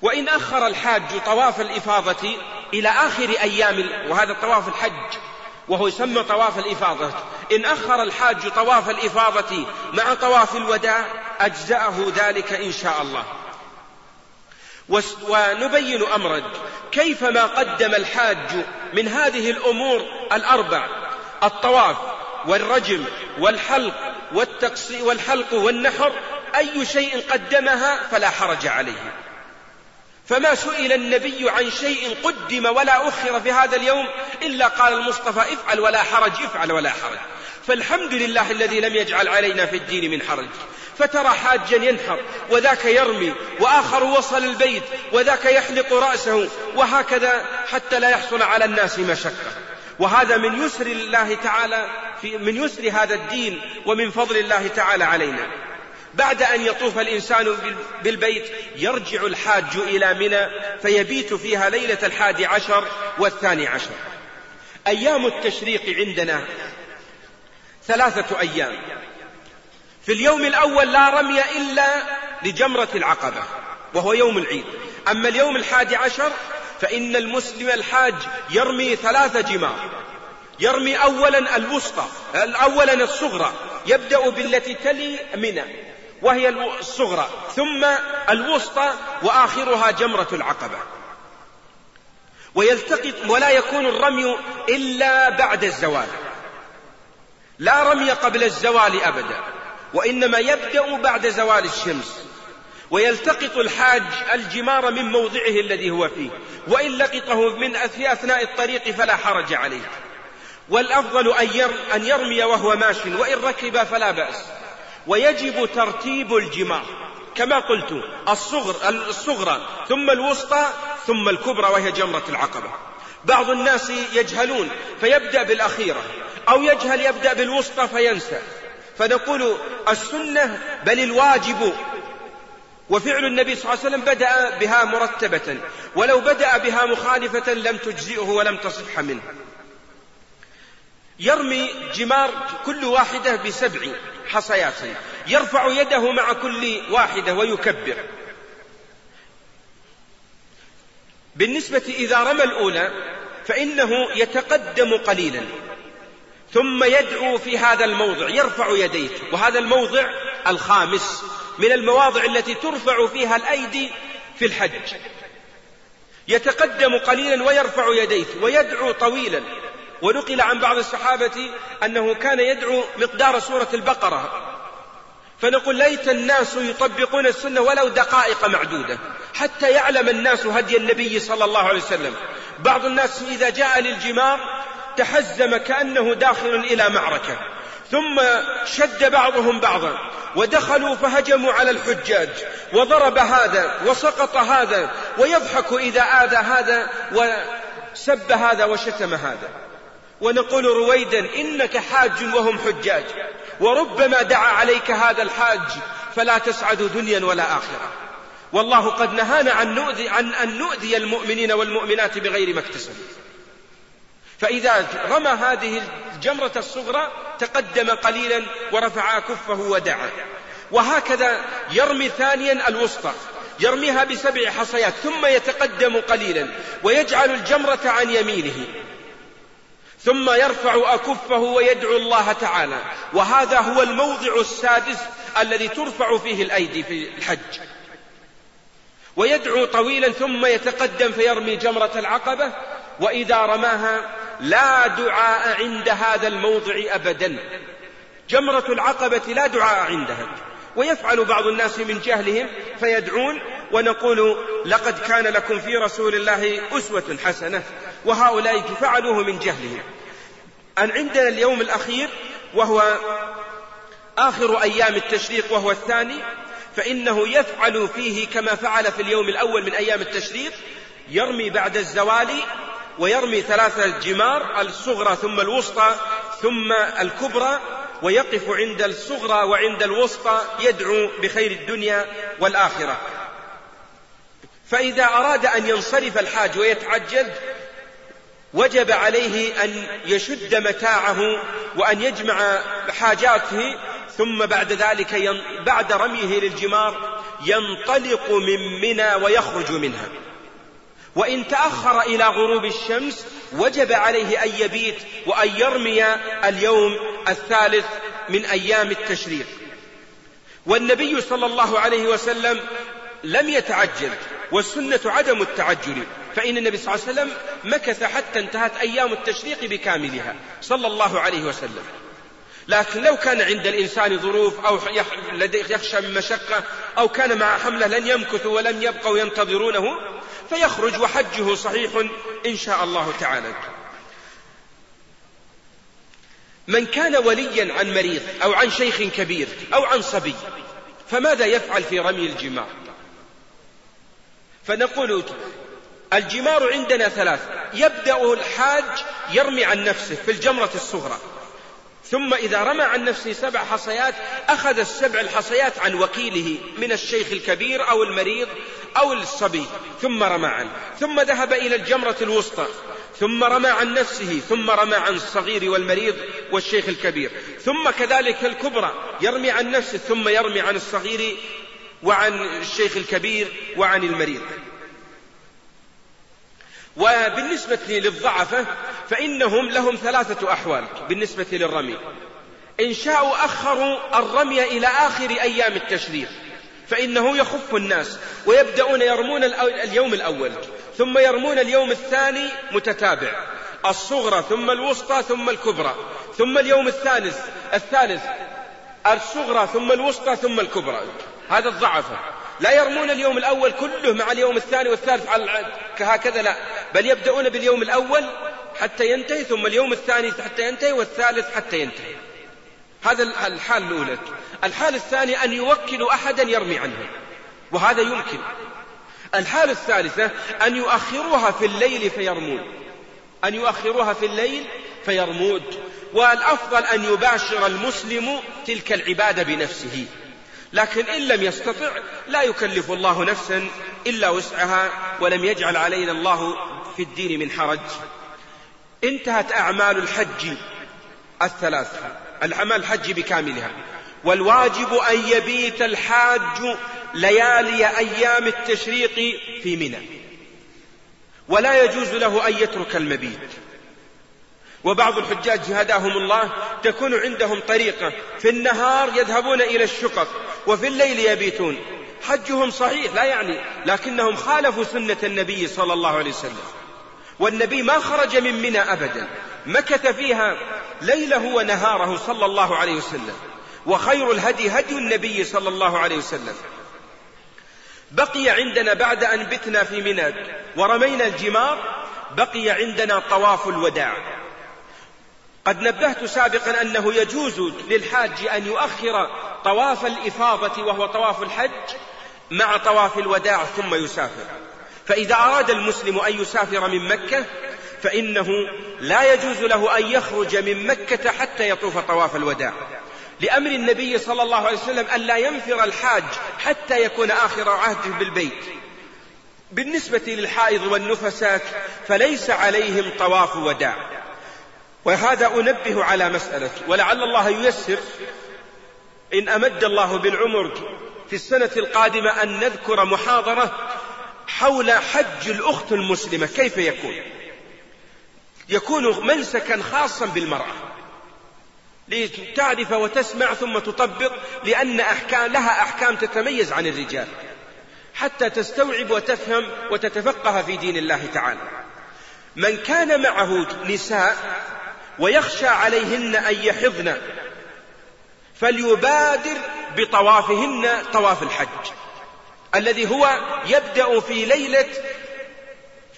وإن أخر الحاج طواف الإفاضة إلى آخر أيام وهذا طواف الحج وهو يسمى طواف الإفاضة إن أخر الحاج طواف الإفاضة مع طواف الوداع أجزأه ذلك إن شاء الله ونبين أمرا كيفما قدم الحاج من هذه الأمور الأربع الطواف والرجم والحلق والتقصي والحلق والنحر أي شيء قدمها فلا حرج عليه فما سئل النبي عن شيء قدم ولا أخر في هذا اليوم إلا قال المصطفى افعل ولا حرج افعل ولا حرج فالحمد لله الذي لم يجعل علينا في الدين من حرج فترى حاجا ينحر وذاك يرمي وآخر وصل البيت وذاك يحلق رأسه وهكذا حتى لا يحصل على الناس مشقة وهذا من يسر الله تعالى في من يسر هذا الدين ومن فضل الله تعالى علينا بعد أن يطوف الإنسان بالبيت يرجع الحاج إلى منى فيبيت فيها ليلة الحادي عشر والثاني عشر أيام التشريق عندنا ثلاثة أيام في اليوم الأول لا رمي إلا لجمرة العقبة وهو يوم العيد أما اليوم الحادي عشر فإن المسلم الحاج يرمي ثلاثة جمار يرمي أولا الوسطى أولا الصغرى يبدأ بالتي تلي منى وهي الصغرى ثم الوسطى وآخرها جمرة العقبة ويلتقط ولا يكون الرمي إلا بعد الزوال لا رمي قبل الزوال أبدا وإنما يبدأ بعد زوال الشمس ويلتقط الحاج الجمار من موضعه الذي هو فيه وإن لقطه من في أثناء الطريق فلا حرج عليه والأفضل أن ير- أن يرمي وهو ماش وإن ركب فلا بأس ويجب ترتيب الجمار كما قلت الصغر الصغرى ثم الوسطى ثم الكبرى وهي جمرة العقبة بعض الناس يجهلون فيبدأ بالأخيرة أو يجهل يبدأ بالوسطى فينسى فنقول السنة بل الواجب وفعل النبي صلى الله عليه وسلم بدأ بها مرتبة ولو بدأ بها مخالفة لم تجزئه ولم تصح منه يرمي جمار كل واحدة بسبع حصيات يرفع يده مع كل واحدة ويكبر بالنسبة إذا رمى الأولى فإنه يتقدم قليلا ثم يدعو في هذا الموضع يرفع يديه وهذا الموضع الخامس من المواضع التي ترفع فيها الأيدي في الحج يتقدم قليلا ويرفع يديه ويدعو طويلا ونقل عن بعض الصحابة أنه كان يدعو مقدار سورة البقرة فنقول ليت الناس يطبقون السنة ولو دقائق معدودة حتى يعلم الناس هدي النبي صلى الله عليه وسلم بعض الناس إذا جاء للجمار تحزم كأنه داخل إلى معركة ثم شد بعضهم بعضا ودخلوا فهجموا على الحجاج وضرب هذا وسقط هذا ويضحك إذا آذى هذا وسب هذا وشتم هذا ونقول رويدا إنك حاج وهم حجاج وربما دعا عليك هذا الحاج فلا تسعد دنيا ولا آخرة والله قد نهانا عن, نؤذي عن أن نؤذي المؤمنين والمؤمنات بغير ما اكتسبوا فإذا رمى هذه الجمرة الصغرى تقدم قليلا ورفع كفه ودعا وهكذا يرمي ثانيا الوسطى يرميها بسبع حصيات ثم يتقدم قليلا ويجعل الجمرة عن يمينه ثم يرفع أكفه ويدعو الله تعالى وهذا هو الموضع السادس الذي ترفع فيه الأيدي في الحج ويدعو طويلا ثم يتقدم فيرمي جمرة العقبة وإذا رماها لا دعاء عند هذا الموضع أبدا جمرة العقبة لا دعاء عندها ويفعل بعض الناس من جهلهم فيدعون ونقول لقد كان لكم في رسول الله أسوة حسنة وهؤلاء فعلوه من جهلهم أن عندنا اليوم الأخير وهو آخر أيام التشريق وهو الثاني فإنه يفعل فيه كما فعل في اليوم الأول من أيام التشريق يرمي بعد الزوال ويرمي ثلاثة جمار الصغرى ثم الوسطى ثم الكبرى ويقف عند الصغرى وعند الوسطى يدعو بخير الدنيا والآخرة فإذا أراد أن ينصرف الحاج ويتعجل وجب عليه أن يشد متاعه وأن يجمع حاجاته ثم بعد ذلك ين... بعد رميه للجمار ينطلق من منى ويخرج منها وإن تأخر إلى غروب الشمس وجب عليه أن يبيت وأن يرمي اليوم الثالث من أيام التشريق والنبي صلى الله عليه وسلم لم يتعجل والسنة عدم التعجل فإن النبي صلى الله عليه وسلم مكث حتى انتهت أيام التشريق بكاملها صلى الله عليه وسلم لكن لو كان عند الإنسان ظروف أو يخشى من مشقة أو كان مع حملة لن يمكث ولم يبقوا ينتظرونه فيخرج وحجه صحيح إن شاء الله تعالى من كان وليا عن مريض أو عن شيخ كبير أو عن صبي فماذا يفعل في رمي الجمار فنقول الجمار عندنا ثلاث يبدأ الحاج يرمي عن نفسه في الجمرة الصغرى ثم إذا رمى عن نفسه سبع حصيات أخذ السبع الحصيات عن وكيله من الشيخ الكبير أو المريض أو الصبي ثم رمى عنه ثم ذهب إلى الجمرة الوسطى ثم رمى عن نفسه ثم رمى عن الصغير والمريض والشيخ الكبير ثم كذلك الكبرى يرمي عن نفسه ثم يرمي عن الصغير وعن الشيخ الكبير وعن المريض وبالنسبة للضعفة فإنهم لهم ثلاثة أحوال بالنسبة للرمي إن شاءوا أخروا الرمي إلى آخر أيام التشريق فإنه يخف الناس ويبدأون يرمون اليوم الأول ثم يرمون اليوم الثاني متتابع الصغرى ثم الوسطى ثم الكبرى ثم اليوم الثالث الثالث الصغرى ثم الوسطى ثم الكبرى هذا الضعفة لا يرمون اليوم الأول كله مع اليوم الثاني والثالث على كهكذا لا بل يبدأون باليوم الأول حتى ينتهي ثم اليوم الثاني حتى ينتهي والثالث حتى ينتهي هذا الحال الأولى الحال الثاني أن يوكل أحدا يرمي عنه وهذا يمكن الحال الثالثة أن يؤخروها في الليل فيرمون أن يؤخروها في الليل فيرمود والأفضل أن يباشر المسلم تلك العبادة بنفسه لكن إن لم يستطع لا يكلف الله نفسا إلا وسعها ولم يجعل علينا الله في الدين من حرج انتهت أعمال الحج الثلاثة الأعمال الحج بكاملها والواجب أن يبيت الحاج ليالي أيام التشريق في منى ولا يجوز له أن يترك المبيت وبعض الحجاج هداهم الله تكون عندهم طريقة في النهار يذهبون إلى الشقق وفي الليل يبيتون حجهم صحيح لا يعني لكنهم خالفوا سنة النبي صلى الله عليه وسلم والنبي ما خرج من منى أبدا مكث فيها ليله ونهاره صلى الله عليه وسلم وخير الهدي هدي النبي صلى الله عليه وسلم بقي عندنا بعد أن بتنا في منى ورمينا الجمار بقي عندنا طواف الوداع قد نبهت سابقا أنه يجوز للحاج أن يؤخر طواف الإفاضة وهو طواف الحج مع طواف الوداع ثم يسافر فإذا أراد المسلم أن يسافر من مكة فإنه لا يجوز له أن يخرج من مكة حتى يطوف طواف الوداع لأمر النبي صلى الله عليه وسلم ألا ينفر الحاج حتى يكون آخر عهده بالبيت بالنسبة للحائض والنفساء فليس عليهم طواف وداع وهذا أنبه على مسألة ولعل الله ييسر إن أمد الله بالعمر في السنة القادمة أن نذكر محاضرة حول حج الأخت المسلمة كيف يكون يكون منسكا خاصا بالمرأة لتعرف وتسمع ثم تطبق لأن أحكام لها أحكام تتميز عن الرجال حتى تستوعب وتفهم وتتفقه في دين الله تعالى من كان معه نساء ويخشى عليهن أن يحضن فليبادر بطوافهن طواف الحج الذي هو يبدأ في ليلة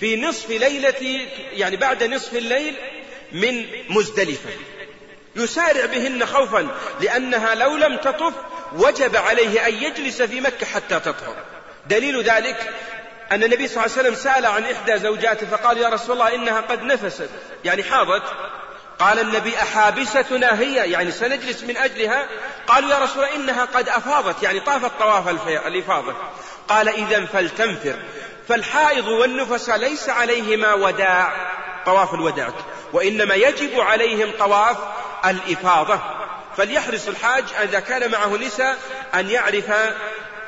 في نصف ليلة يعني بعد نصف الليل من مزدلفة يسارع بهن خوفا لأنها لو لم تطف وجب عليه أن يجلس في مكة حتى تطهر دليل ذلك أن النبي صلى الله عليه وسلم سأل عن إحدى زوجاته فقال يا رسول الله إنها قد نفست يعني حاضت قال النبي أحابستنا هي يعني سنجلس من أجلها قالوا يا رسول الله إنها قد أفاضت يعني طافت طواف الإفاضة قال إذا فلتنفر فالحائض والنفس ليس عليهما وداع طواف الوداع وإنما يجب عليهم طواف الإفاضة فليحرص الحاج إذا كان معه نساء أن يعرف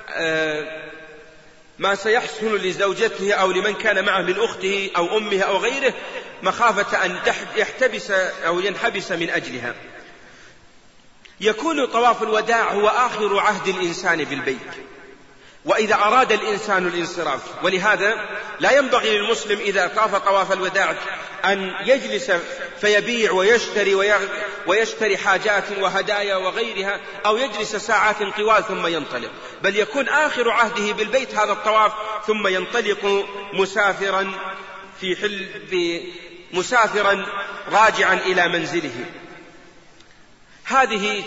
آه، ما سيحصل لزوجته أو لمن كان معه من أخته أو أمه أو غيره مخافة أن يحتبس أو ينحبس من أجلها يكون طواف الوداع هو آخر عهد الإنسان بالبيت وإذا أراد الإنسان الانصراف ولهذا لا ينبغي للمسلم إذا طاف طواف الوداع أن يجلس فيبيع ويشتري ويشتري حاجات وهدايا وغيرها أو يجلس ساعات طوال ثم ينطلق بل يكون آخر عهده بالبيت هذا الطواف ثم ينطلق مسافرا في حل في مسافرا راجعا إلى منزله هذه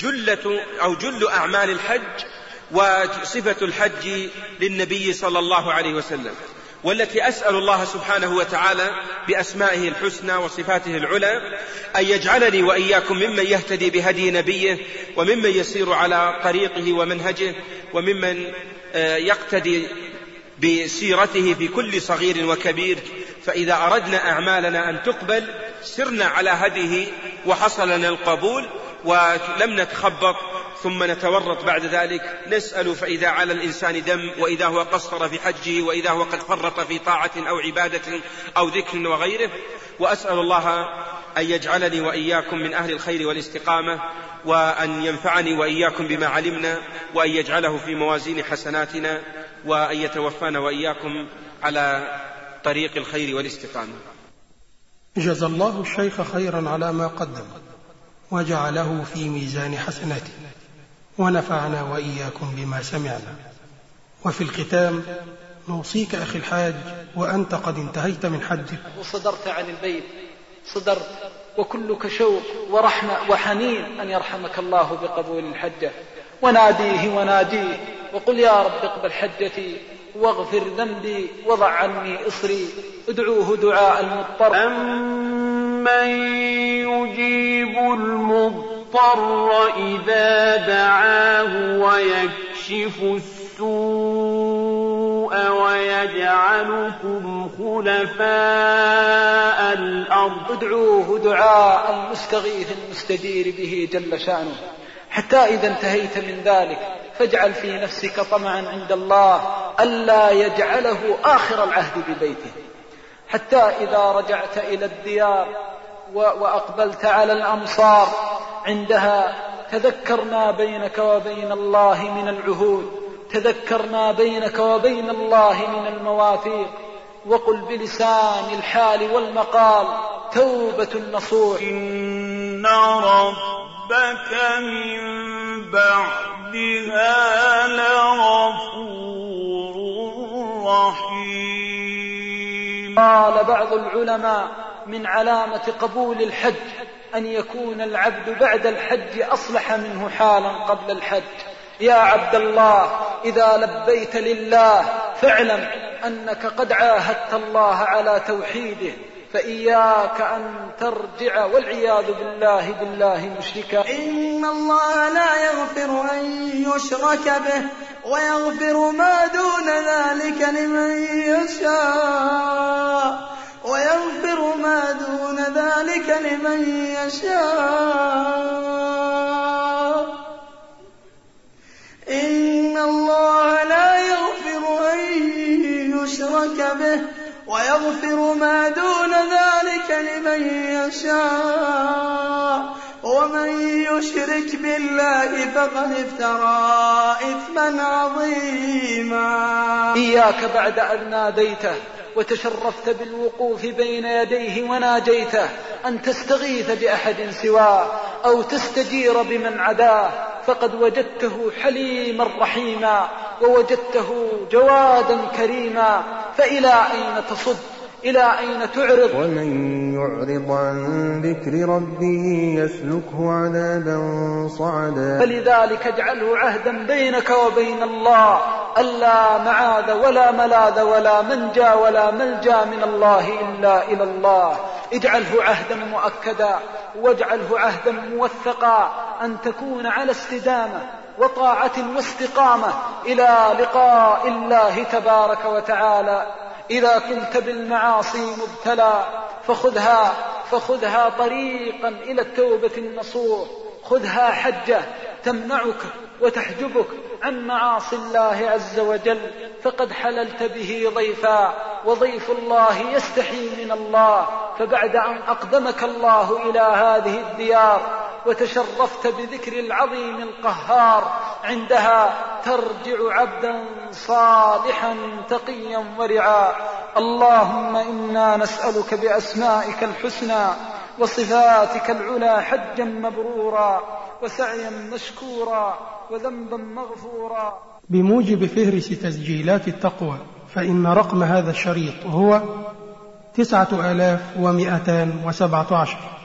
جلة أو جل أعمال الحج وصفة الحج للنبي صلى الله عليه وسلم والتي أسأل الله سبحانه وتعالى بأسمائه الحسنى وصفاته العلى أن يجعلني وإياكم ممن يهتدي بهدي نبيه وممن يسير على طريقه ومنهجه وممن آه، يقتدي بسيرته في كل صغير وكبير فإذا أردنا أعمالنا أن تقبل سرنا على هديه وحصل لنا القبول ولم نتخبط ثم نتورط بعد ذلك نسأل فإذا على الإنسان دم وإذا هو قصر في حجه وإذا هو قد فرط في طاعة أو عبادة أو ذكر وغيره وأسأل الله أن يجعلني وإياكم من أهل الخير والاستقامة وأن ينفعني وإياكم بما علمنا وأن يجعله في موازين حسناتنا وأن يتوفانا وإياكم على طريق الخير والاستقامة جزى الله الشيخ خيرا على ما قدم وجعله في ميزان حسناته ونفعنا وإياكم بما سمعنا وفي الختام نوصيك أخي الحاج وأنت قد انتهيت من حجك وصدرت عن البيت صدرت وكلك شوق ورحمة وحنين أن يرحمك الله بقبول الحجة وناديه وناديه وقل يا رب اقبل حجتي واغفر ذنبي وضع عني إصري ادعوه دعاء المضطر أمن يجيب المضطر إذا دعاه ويكشف السوء ويجعلكم خلفاء الأرض ادعوه دعاء المستغيث المستجير به جل شأنه حتى إذا انتهيت من ذلك فاجعل في نفسك طمعا عند الله ألا يجعله آخر العهد ببيته حتى إذا رجعت إلى الديار وأقبلت على الأمصار عندها تذكر ما بينك وبين الله من العهود تذكر ما بينك وبين الله من المواثيق وقل بلسان الحال والمقال توبة النصوح إن ربك من بعدها لغفور رحيم قال بعض العلماء من علامة قبول الحج أن يكون العبد بعد الحج أصلح منه حالا قبل الحج يا عبد الله إذا لبيت لله فاعلم أنك قد عاهدت الله على توحيده فإياك أن ترجع والعياذ بالله بالله مشركا إن الله لا يغفر أن يشرك به ويغفر ما دون ذلك لمن يشاء ويغفر ما دون ذلك لمن يشاء إن الله لا يغفر أن يشرك به ويغفر ما دون ذلك لمن يشاء ومن يشرك بالله فقد افترى إثما عظيما إياك بعد أن ناديته وتشرفت بالوقوف بين يديه وناجيته أن تستغيث بأحد سواه أو تستجير بمن عداه فقد وجدته حليما رحيما ووجدته جوادا كريما فإلى أين تصد إلى أين تعرض ومن يعرض عن ذكر ربه يسلكه عذابا صعدا فلذلك اجعله عهدا بينك وبين الله ألا معاذ ولا ملاذ ولا منجى ولا ملجا من الله إلا إلى الله اجعله عهدا مؤكدا واجعله عهدا موثقا أن تكون على استدامة وطاعة واستقامة إلى لقاء الله تبارك وتعالى إذا كنت بالمعاصي مبتلى فخذها فخذها طريقا إلى التوبة النصوح خذها حجة تمنعك وتحجبك عن معاصي الله عز وجل فقد حللت به ضيفا وضيف الله يستحي من الله فبعد أن أقدمك الله إلى هذه الديار وتشرفت بذكر العظيم القهار عندها ترجع عبدا صالحا تقيا ورعا اللهم انا نسالك باسمائك الحسنى وصفاتك العلى حجا مبرورا وسعيا مشكورا وذنبا مغفورا بموجب فهرس تسجيلات التقوى فإن رقم هذا الشريط هو تسعة آلاف ومئتان وسبعة عشر